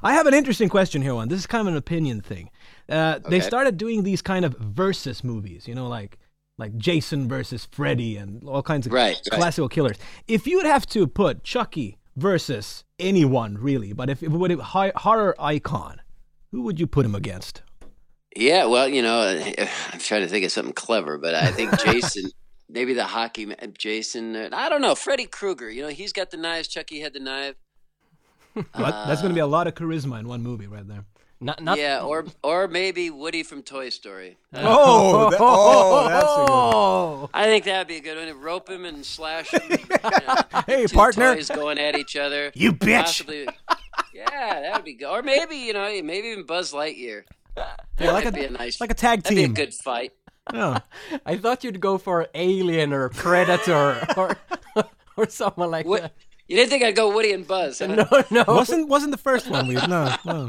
A: I have an interesting question here one. This is kind of an opinion thing. Uh, They
D: Okay.
A: started doing these kind of versus movies, you know, like like Jason versus Freddy and all kinds of
D: Right, right.
A: classical killers. If you would have to put Chucky versus anyone really, but if it would have hi- horror icon, who would you put him against?
D: Yeah, well, you know, uh, [SIGHS] I'm trying to think of something clever, but
A: [LAUGHS]
D: I think Jason, maybe the hockey ma- Jason. uh, I don't know, Freddy Krueger. You know, he's got the knives. Chucky had the knife.
A: That- That's going to be a lot of charisma in one movie right there.
B: Na- na- [LAUGHS]
D: Yeah, or or maybe Woody from Toy Story.
A: Oh, oh, that's a good
D: I think that'd be a good one. Rope him and slash him. you know,
A: [LAUGHS] Hey,
D: two
A: partner.
D: toys going at each other.
A: You bitch.
D: Possibly- yeah, that would be good. Or maybe you know, maybe even Buzz Lightyear.
A: Yeah, like
D: That'd be
A: a,
D: a nice,
A: like a tag
D: that'd be a
A: team.
D: good fight.
A: Yeah.
B: [LAUGHS] I thought you'd go for alien or predator or, [LAUGHS] or someone like
D: What?
B: that.
D: You didn't think I'd go Woody and
A: [LAUGHS]
D: Buzz? huh?
B: No, no.
A: Wasn't wasn't the first one weird? No, no.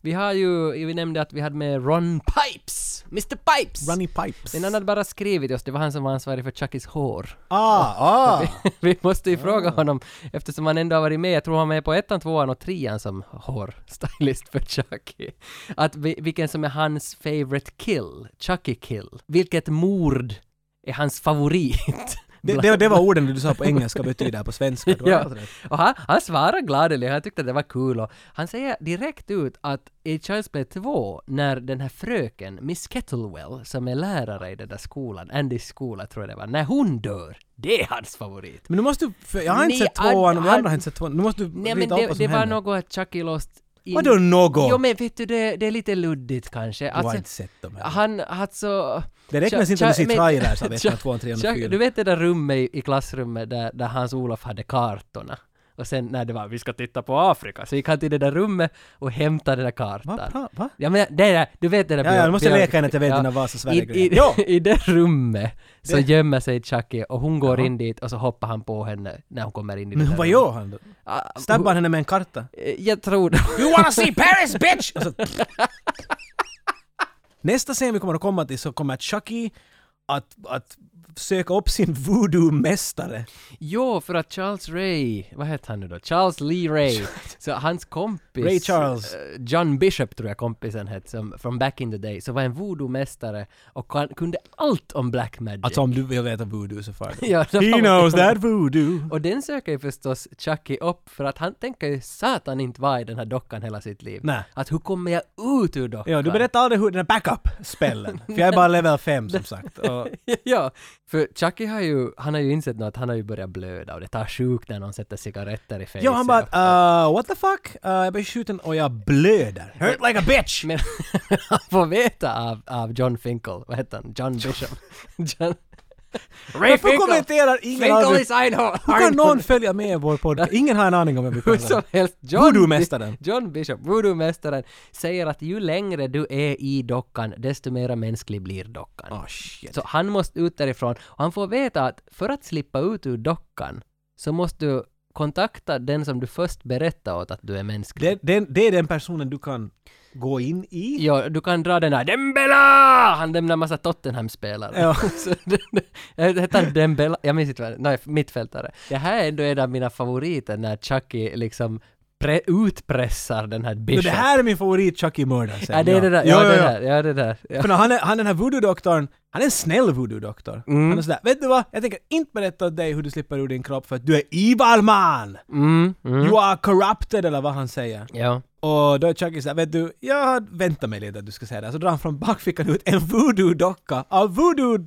B: Vi har ju, vi nämnde att vi hade med Ron Pipes! Mr Pipes!
A: Runny Pipes.
B: Men han hade bara skrivit oss, det var han som var ansvarig för Chuckys hår. [LAUGHS]
A: Ah, ah.
B: Vi måste ju fråga honom, eftersom han ändå har varit med, jag tror han var med på ettan, tvåan och trean som hårstylist för Chucky. Att vi, vilken som är hans favorite kill, Chucky kill. Vilket mord är hans favorit?
A: Det, det, det var orden du sa på engelska betyder på svenska. Du har
B: Ja.
A: helt rätt.
B: Och han, han svarade gladeligt, han tyckte det var kul och han säger direkt ut att i Child's Play 2, när den här fröken, Miss Kettlewell, som är lärare i den där skolan, Andys skola tror jag det var, när hon dör, det är hans favorit.
A: Men nu måste du, för jag har inte
B: Ni
A: sett tvåan och de
B: hade-
A: andra har inte sett tvåan. Nu måste du
B: Nej men
A: rita upp
B: det,
A: vad
B: det
A: som
B: var
A: händer.
B: något att Chucky lost in...
A: Vadå något?
B: Jo men vet du, det, det är lite luddigt kanske.
A: Du har
B: Alltså,
A: inte sett dem heller.
B: han, alltså...
A: Det räknas inte om du ser
B: men-
A: trailers
B: [LAUGHS]
A: av ettan,
B: Chuck-
A: tvåan, trean och
B: Chuck-
A: fyran.
B: Du vet det där rummet i, i klassrummet där, där Hans-Olof hade kartorna? Och sen när det var vi ska titta på Afrika, så gick han till det där rummet och hämtade den där kartan.
A: Va? Pra, va?
B: Ja men det där, du vet det där
A: Ja, ja, du måste
B: bio-
A: leka in att jag vet
B: ja.
A: den där Vasa
B: I, i,
A: Sverige-grejen. Ja!
B: [LAUGHS] I det rummet så
A: Det-
B: gömmer sig Chucky och hon går
A: Ja.
B: in dit och så hoppar han på henne när hon kommer in i det
A: Men
B: där
A: vad
B: rummet.
A: gör han då?
B: Ah,
A: Stabbar henne med en karta?
B: eh, Jag tror det.
A: You wanna see Paris bitch! Och så,
B: [LAUGHS]
A: Nästa scen vi kommer att komma till så kommer Chucky att, att söka upp sin voodoo-mästare.
B: Jo, för att Charles Ray, vad heter han nu då? Charles
A: [LAUGHS]
B: Lee Ray. så hans kompis...
A: Ray Charles.
B: eh, John Bishop tror jag kompisen hette, som från back in the day, så var en voodoo-mästare och kan, kunde allt om black magic.
A: Alltså om du vill veta voodoo så far du.
B: Ja, det
A: He
B: var-
A: knows that voodoo.
B: Och den söker ju förstås Chucky upp för att han tänker ju satan inte vara i den här dockan hela sitt liv.
A: Nej.
B: Att hur kommer jag ut ur dockan?
A: Ja, du berättar aldrig hur den här [LAUGHS] backup-spellen. För jag är bara level 5 som sagt. Och
B: [LAUGHS] ja, för Chucky har ju, han har ju insett nu att han har ju börjat blöda och det tar sjukt när någon sätter cigaretter i fejset. [LAUGHS]
A: ja, han bara uh, what the fuck? Uh, jag blir skjuten och jag blöder. Hurt like a bitch!
B: Men
A: [LAUGHS]
B: han får veta av, av John Finkel, vad heter han? John Bishop. John, Ray
A: Varför
B: Finkel!
A: kommenterar ingen
B: Finkel
A: aldrig?
B: is Einhorn!
A: Hur kan någon följa med i vår podcast? Ingen har en aning om [LAUGHS] vem vi
B: Hur
A: pratar
B: som
A: om.
B: helst, John,
A: Voodoo-mästaren.
B: John Bishop, voodoo-mästaren, säger att ju längre du är i dockan, desto mera mänsklig blir dockan.
A: Ah, shit.
B: Så han måste ut därifrån och han får veta att för att slippa ut ur dockan så måste du kontakta den som du först berättade åt att du är mänsklig.
A: Det, det, det är den personen du kan gå in i.
B: Ja, du kan dra den där Dembela! Han lämnar massa Tottenham-spelare.
A: Ja.
B: [LAUGHS] Så den- den- Hette han Dembela? Jag minns inte vad Nej, mittfältare. Det här är ändå en av mina favoriter när Chucky liksom pre- utpressar den här
A: Men
B: Bishop.
A: det här är min favorit Chucky Murder.
B: Ja, det är det där. Ja, det där. Ja, det där. Ja.
A: För när han, är, han den här voodoo-doktorn, han är en snäll voodoo-doktor.
B: Mm.
A: Han är sådär, vet du vad? Jag tänker inte berätta åt dig hur du slipper ur din kropp för att du är evil man!
B: Mm, mm.
A: You are corrupted eller vad han säger.
B: Ja.
A: Och då är Chucky såhär, vet du, jag väntar mig lite att du ska säga det. Så drar han från bakfickan ut en voodoo-docka av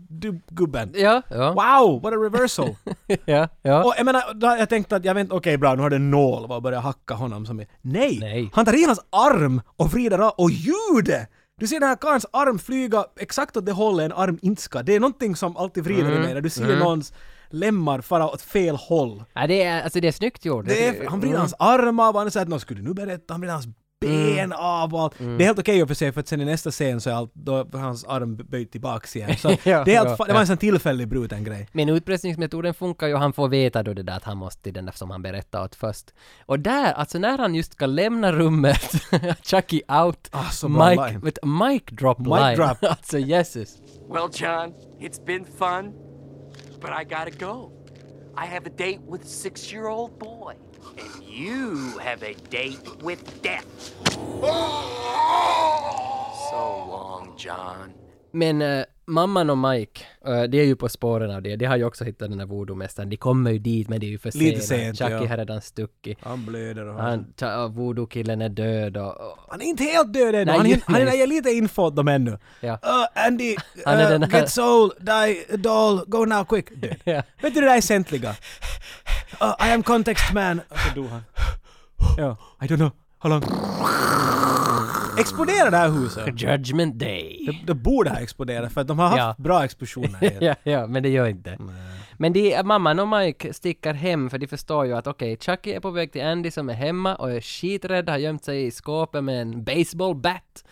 A: voodoo-gubben.
B: Ja, ja.
A: Wow, what a reversal!
B: ja, ja.
A: Och jag menar, då, har jag tänkte att jag vet inte, okej bra, nu har det en nål och börjar hacka honom som är... Nej!
B: Nej.
A: Han tar i hans arm och vrider av, och ljudet! Du ser den här karlns arm flyga exakt åt det hållet en arm inte ska. Det är någonting som alltid vrider
B: Mm.
A: i mig när du ser någons lemmar fara åt fel håll.
B: ja det, är, alltså, det är snyggt gjort.
A: Det är, han vrider
B: Mm.
A: hans arm av, han är såhär att "Nå, skulle du nu berätta? Han vrider hans
B: Mm.
A: ben av och allt. Det är helt okej i och för sig för att sen i nästa scen så är allt, då är hans arm böjd tillbaks igen. Så
B: [LAUGHS] Ja,
A: det, är helt,
B: ja,
A: fa- det var en sån tillfällig bruten grej.
B: Men utpressningsmetoden funkar ju, han får veta då det där att han måste till den där som han berättade åt först. Och där, alltså när han just ska lämna rummet, [LAUGHS] Chucky out,
A: Ah, så bra
B: Mike,
A: line.
B: with mic drop
A: Mic
B: line.
A: drop.
B: [LAUGHS] alltså Jesus.
I: Well, John, it's been fun, but I gotta go. I have a date with a six year old boy, and you have a date with death. So long, John.
B: Men eh, mamman och Mike, eh, de är ju på spåren av det. De har ju också hittat den där voodoo-mästaren. De kommer ju dit men det är ju för sent.
A: Lite sent,
B: Chucky
A: ja.
B: har redan stuckit.
A: Han blöder och han...
B: Han, ta- voodoo-killen är död och, och
A: Han är inte helt död ännu,
B: Nej,
A: han,
B: just
A: är- han
B: nej.
A: är- ger lite info åt dem ännu.
B: Ja.
A: Uh, Andy,
B: Han är den
A: uh,
B: här-
A: get soul, die, doll, go now quick. Död.
B: [LAUGHS] Ja.
A: Vet du det där essentliga? Uh, I am context man. Och så dog han. Ja. I don't know, how long? Exploderar det här huset?
B: Judgment Day.
A: Det, det borde ha exploderat för att de har haft
B: Ja.
A: bra explosioner. här.
B: [LAUGHS] ja, ja, men det gör inte. Men de, mamman och Mike stickar hem för de förstår ju att okej, Chucky är på väg till Andy som är hemma och är skiträdd, har gömt sig i skåpet med
A: [LAUGHS]
B: en baseballbat.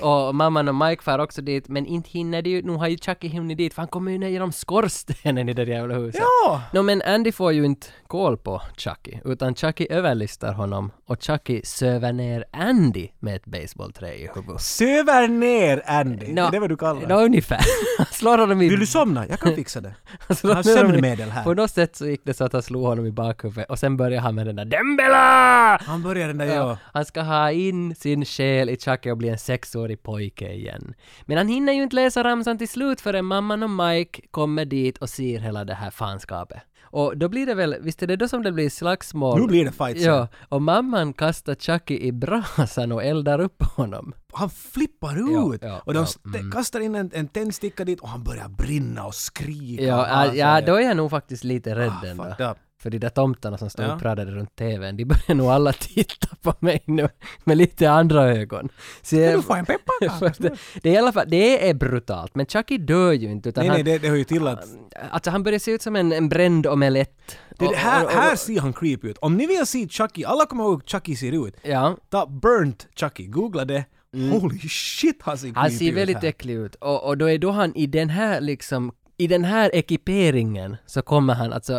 B: och mamman och Mike far också dit, men inte hinner de ju, nu har ju Chucky hunnit dit för han kommer ju ner genom skorstenen i det där jävla huset.
A: Ja!
B: Nå men
A: [LAUGHS]
B: Andy får ju inte koll på Chucky, utan Chucky överlistar honom och Chucky söver ner Andy med ett baseballträ i huvudet.
A: Söver ner Andy, det är vad du kallar
B: Nå,
A: det.
B: ungefär. [LAUGHS] Han slår honom i
A: Vill du somna? Jag kan fixa det.
B: Alltså,
A: Jag har
B: då-
A: sömnmedel
B: På
A: här.
B: något sätt så gick det så att han slog honom i bakhuvudet och sen började han med den där Dembela!
A: Han börjar den där, ja.
B: Han ska ha in sin själ i Chucky och bli en sexårig pojke igen. Men han hinner ju inte läsa ramsan till slut förrän mamman och Mike kommer dit och ser hela det här fanskapet. Och då blir det väl, visst är det då som det blir slagsmål?
A: Nu blir det fight.
B: Ja, och mamman kastar Chucky i brasan och eldar upp honom.
A: han flippar
B: Ja,
A: ut!
B: ja,
A: och de
B: ja, mm.
A: st- kastar in en, en tändsticka dit och han börjar brinna och skrika.
B: Ja,
A: och han
B: ja, ja,
A: säger,
B: då är jag nog faktiskt lite rädd
A: "Ah,
B: ändå.
A: fucked up."
B: För de där tomtarna som står
A: Ja.
B: uppradade runt TVn, de börjar nog alla [LAUGHS] titta på mig nu med lite andra ögon. Så
A: Du
B: [LAUGHS] jag,
A: får en pepparkaka!
B: det, det är i alla fall, det är brutalt, men Chucky dör ju inte utan
A: nej, nej,
B: han,
A: det, det hör ju till att...
B: alltså han börjar se ut som en, en bränd omelett.
A: Det,
B: Och-
A: det, här,
B: och- och-
A: här ser han creepy ut. Om ni vill se Chucky, alla kommer ihåg hur Chucky ser ut.
B: Ja, Mm.
A: Ta Burnt Chucky, googla det. Holy shit, han ser creepy
B: han ser
A: ut
B: väldigt
A: här.
B: äcklig ut och, och då är då han i den här liksom, i den här ekiperingen så kommer han alltså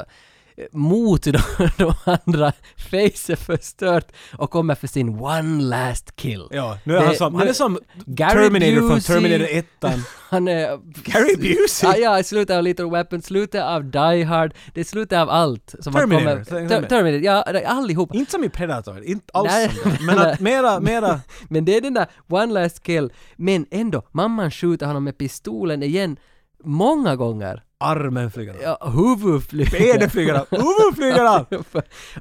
B: eh, mot [LAUGHS] de, de andra, face är förstört och kommer för sin one last kill.
A: Ja, nu är
B: Det-
A: han som... Han
B: nu-
A: är som
B: Gary
A: Terminator från
B: Busey.
A: Terminator 1.
B: [LAUGHS]
A: [LAUGHS]
B: Han är...
A: Gary Busey?
B: Ja, ja, i slutet av Little Weapon, slutet av Die Hard, det är slutet av allt. Som man
A: Terminator,
B: kommer-
A: säg-
B: Ter- Terminator, ja, allihopa.
A: Inte som i Predator, inte alls
B: Nej,
A: som det. Men
B: [LAUGHS]
A: att mera, mera...
B: Men det är den där one last kill. Men ändå, mamman skjuter honom med pistolen igen många gånger.
A: Armen flyger av.
B: Ja, huvudet flyger.
A: Benen
B: [LAUGHS]
A: flyger av. Huvudet flyger av!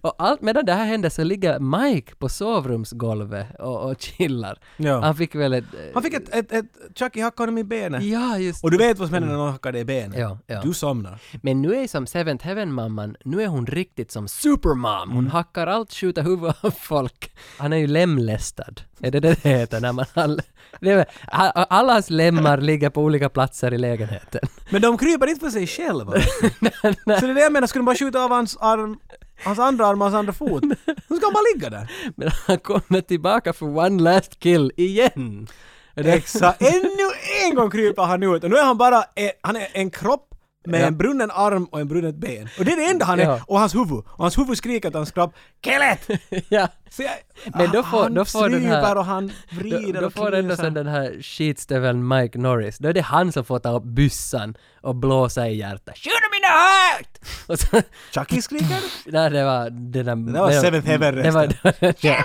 B: och allt medan det här händer så ligger Mike på sovrumsgolvet och, och chillar.
A: Ja.
B: Han fick väl ett...
A: Han fick ett... ett, ett Chucky hackade honom i benet.
B: Ja, just
A: Och du vet vad som händer när någon hackar dig i benet?
B: Ja, ja.
A: Du somnar.
B: Men nu är som Seventh Heaven-mamman, nu är hon
A: Mm.
B: riktigt som Supermom. Hon hackar allt, skjuter huvudet av folk. Han är ju lemlästad. Är det det det heter när man... All, det är, a- alla hans lemmar ligger på olika platser i lägenheten.
A: Men de kryper inte för sig själva. Så det är det jag menar, skulle de bara skjuta av hans arm Hans andra arm och hans andra fot. Så ska han bara ligga där.
B: Men [LAUGHS] han kommer tillbaka för one last kill
A: Mm.
B: igen. Är det-
A: Exakt. Ännu en gång kryper han ut och nu är han bara eh, han är en kropp med
B: Ja.
A: en brunnen arm och en brunnet ben. Och det är det enda han är.
B: Ja.
A: Och hans huvud. Och hans huvud skriker till hans kropp Kill it!
B: [LAUGHS] ja.
A: Så jag,
B: Men då får-
A: han
B: då får den här-
A: stryper och han
B: Då,
A: vrider
B: då
A: och
B: får ändå
A: knusar.
B: sen den här skitstöveln Mike Norris, då är det han som får ta upp byssan och blåsa i hjärtat. Shoot him in the heart! Och så,
A: Chucky skriker?
B: nej, det var den där...
A: Det var Seventh Heaven
B: det var,
A: resten.
B: ja.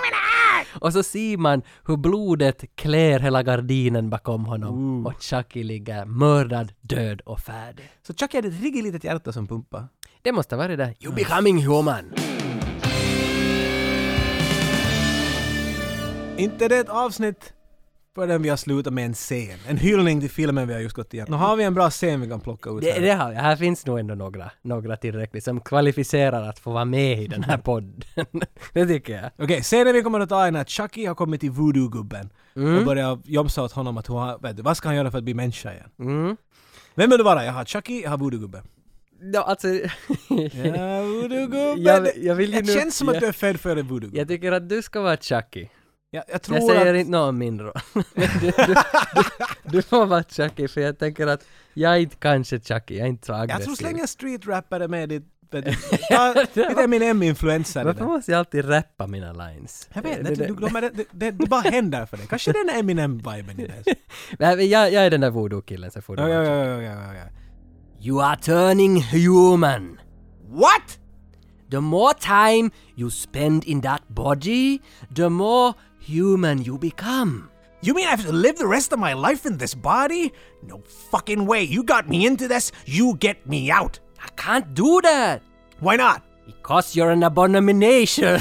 B: Och så ser man hur blodet klär hela gardinen bakom honom och Chucky ligger mördad, död och färdig.
A: Så Chucky hade ett riktigt litet hjärta som pumpar.
B: Det måste vara det där. You becoming human!
A: Inte det ett avsnitt förrän vi har slutat med en scen. En hyllning till filmen vi har just gått igenom. Nu har vi en bra scen vi kan plocka ut
B: Mm. Det,
A: här.
B: det har vi. Här finns nog ändå några, några tillräckligt som kvalificerar att få vara med i den
A: [LAUGHS]
B: här podden. [LAUGHS] det tycker jag.
A: Okej, scenen vi kommer att ta är när Chucky har kommit till voodoo-gubben
B: Mm.
A: och börjar jobsa åt honom att hon har, vet du, vad ska han göra för att bli människa igen?
B: Mm.
A: Vem vill du vara? Jag har Chucky, jag har
B: [LAUGHS]
A: voodoo-gubben.
B: Ja, alltså...
A: Ja, voodoo-gubben!
B: Jag- jag vill ju
A: det
B: nu-
A: känns som att
B: jag-
A: du är född före voodoo-gubben.
B: [LAUGHS] jag tycker att du ska vara Chucky.
A: Jag, jag tror
B: Jag säger
A: att...
B: inte något om min roll. Men [LAUGHS] du, du, du, du får vara Chucky, för jag tänker att jag är inte kanske Chucky, jag är inte så aggressiv.
A: Jag tror släng en street-rappare med i... vet
B: [LAUGHS]
A: du. Ta Lite Eminem-influencer i
B: Varför
A: det.
B: måste jag alltid rappa mina lines?
A: Jag vet inte, du glömmer det, det, det, det bara händer för dig. Kanske den är Eminem-viben i det.
B: Nej, men jag, jag är den där voodoo-killen, så får du
A: Ja, ja,
B: vara
A: ja, ja, ja, ja.
B: You are turning human. What? The more time you spend in that body, the more human you become.
A: You mean I have to live the rest of my life in this body? No fucking way. You got me into this, you get me out.
B: I can't do that
A: Why not?
B: because you're an abomination.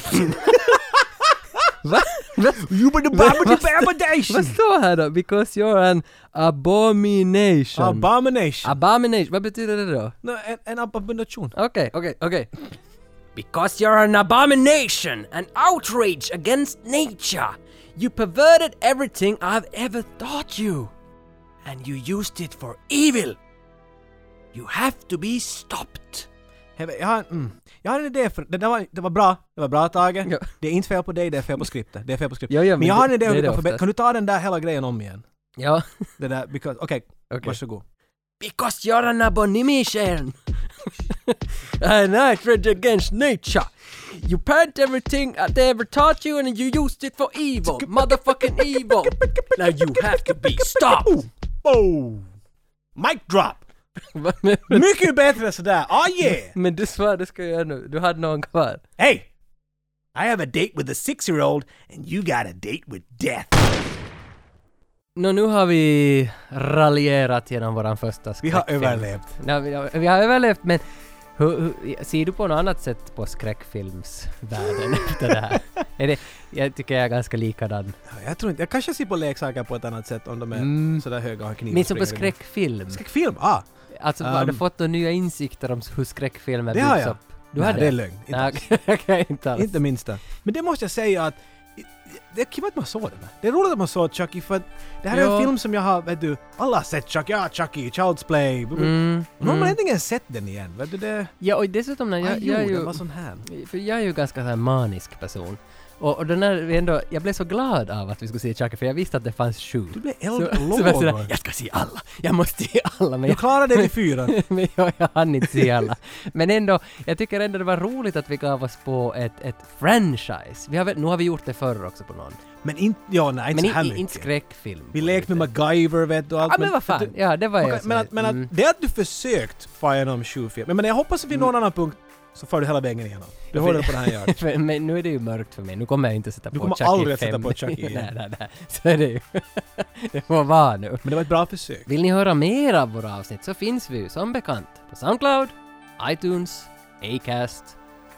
B: Va? Va?
A: You were the
B: Vad står här då? Because you're an abomination.
A: Abomination.
B: abomination, vad betyder det då?
A: No, en, en abomination.
B: Okej, okej, okej. Because you're an abomination, an outrage against nature. You perverted everything I've ever taught you. And you used it for evil. You have to be stopped.
A: Jag vet- jag har, mm, jag har en idé för... Det, där var, det var bra. Det var bra Tage.
B: Ja.
A: Det är inte fel på dig, det är fel på skriptet. Det är fel på skriptet.
B: Ja, ja,
A: men
B: men
A: jag har en
B: det-
A: idé hur
B: det
A: du
B: är
A: kan
B: det
A: förbättra...
B: oftast.
A: Kan du ta den där hela grejen om igen?
B: Ja,
A: Det där, because... Okej,
B: Okej.
A: varsågod.
B: [LAUGHS] because you're an abomination. [LAUGHS] an outrage against nature. You parent everything I ever taught you and you used it for evil. Motherfucking evil. Now you have to be
A: [LAUGHS]
B: stopped.
A: Oh! Mic drop! Mycket bättre sådär! Ah yeah!
B: Men du svarade ska jag göra nu, du hade någon kvar.
A: Hey, I have a date with a six-year-old and you got a date with death.
B: Nå nu har vi raljerat genom våran första
A: Vi
B: skräckfilm.
A: har överlevt.
B: Nej, vi, har, vi har överlevt men hur, hur, ser du på något annat sätt på skräckfilmsvärlden [LAUGHS] efter det här? Är det, jag tycker jag är ganska likadan.
A: Jag tror inte, jag kanske ser på leksaker på ett annat sätt om de är
B: Mm.
A: sådär höga och har knivar.
B: Men som på skräckfilm.
A: Skräckfilm? Ah!
B: Alltså har du
A: Um,
B: fått några nya insikter om hur skräckfilmer
A: Det har
B: byggs
A: jag.
B: upp? Du
A: Nej,
B: har
A: det är lögn. Inte,
B: Nej, okej, [LAUGHS] okej, inte alls.
A: inte minsta. Men det måste jag säga att det är kul att man såg den här. Det är roligt att man såg Chucky för att det här är
B: Ja.
A: en film som jag har, vet du, alla har sett Chucky, ja Chucky, Child's Play. Mm.
B: Mm,
A: Nu har man
B: mm.
A: äntligen sett den igen. Vet du det?
B: Ja och dessutom när jag,
A: Aj,
B: jag är
A: Ah, jo,
B: ju...
A: den var sån [LAUGHS] här.
B: För jag är ju ganska så här manisk person. Och, och den här, vi ändå, jag blev så glad av att vi skulle se Chucky för jag visste att det fanns sju.
A: Du blev
B: Så,
A: eld
B: så var jag, sådär,
A: låg.
B: jag ska se alla, jag måste se alla. Men
A: Du
B: jag,
A: klarade det i fyran.
B: men jag, [LAUGHS] jag hann inte se alla. Men ändå, jag tycker ändå det var roligt att vi gav oss på ett, ett franchise. Vi har, väl- nu har vi gjort det förr också på någon.
A: Men inte, ja nej inte
B: Men
A: så här
B: i- i-
A: mycket.
B: inte skräckfilm.
A: Vi
B: på
A: lekte med
B: riktigt.
A: MacGyver vet du och allt.
B: Ja men vad fan, ja det var
A: Okej,
B: jag som-
A: men att, men att,
B: mm.
A: det att du försökt fara igenom sju filmer, men jag hoppas att vid någon annan punkt så far du hela vägen igenom. Du håller på det här
B: [LAUGHS]
A: jag
B: För- men nu är det ju mörkt för mig, nu kommer jag inte sätta
A: Du
B: på
A: kommer
B: Chucky
A: aldrig att sätta
B: fem.
A: på E. Chucky igen.
B: [LAUGHS] nej, nej, nej. Så är det ju. [LAUGHS] det får vara nu.
A: Men det var ett bra försök.
B: Vill ni höra mer av våra avsnitt så finns vi ju som bekant på Soundcloud, iTunes, Acast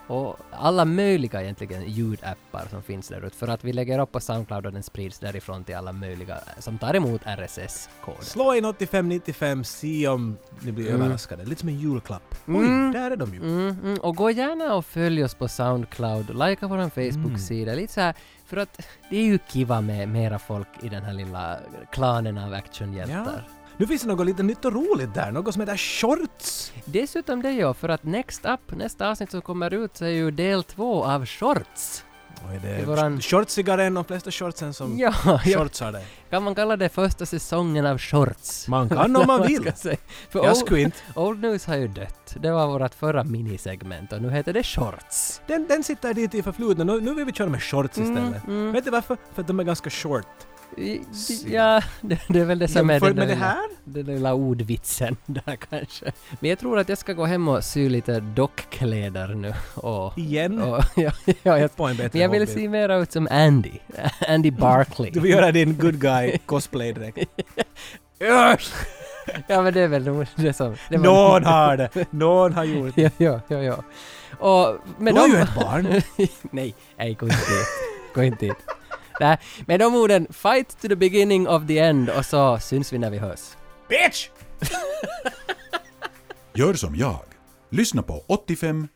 B: Och alla möjliga egentligen ljudappar som finns där ute. För att vi lägger upp på Soundcloud och den sprids därifrån till alla möjliga som tar emot RSS-koden.
A: Slå in 8595, se om ni blir överraskade. Lite som en julklapp. Oj,
B: Mm.
A: där är de ju.
B: Mm, mm. Och gå gärna och följ oss på Soundcloud, likea vår Facebook-sida,
A: Mm.
B: lite så här, för att det är ju kiva med mera folk i den här lilla klanen av actionhjältar.
A: Nu finns det något lite nytt och roligt där, något som heter shorts.
B: Dessutom det ja, för att Next Up, nästa avsnitt som kommer ut, så är ju del två av Shorts.
A: Oj, det
B: Det
A: är
B: var en-
A: shortsigare än de flesta shortsen som
B: Ja, ja,
A: shortsar dig.
B: kan man kalla det första säsongen av Shorts?
A: Man kan om man
B: [LAUGHS]
A: vill.
B: ska säga. För
A: Jag
B: Old-
A: skulle inte.
B: Old News har ju dött. Det var vårt förra minisegment och nu heter det Shorts.
A: Den, den sitter dit i förflutna. Nu, nu vill vi köra med shorts istället.
B: mm.
A: Vet du varför? För att de är ganska short.
B: I-
A: Se.
B: Ja, [LAUGHS] det, det är väl det som är
A: Jämfört med
B: den där
A: det
B: lilla-
A: här?
B: den lilla ordvitsen [LAUGHS] där kanske. Men jag tror att jag ska gå hem och sy lite dockkläder nu och...
A: Igen?
B: och [LAUGHS] ja, ja, jag,
A: På en bättre
B: men jag vill
A: hobby.
B: se mera ut som Andy. Andy Barkley.
A: Du vill göra din good guy
B: [LAUGHS]
A: cosplay-dräkt.
B: Usch! Ja men det är väl nog det som... Det var-
A: Någon har det! Någon har gjort det.
B: [LAUGHS] Ja, ja, ja, ja. Och, men
A: Du har
B: [LAUGHS] de-
A: ju ett
B: [LAUGHS]
A: barn.
B: nej, nej, gå inte dit. Gå inte dit. Nej, med de orden, fight to the beginning of the end och så syns vi när vi hörs.
A: Bitch!
J: Gör som jag. Lyssna på 85-95.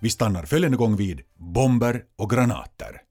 J: Vi stannar följande gång vid bomber och granater.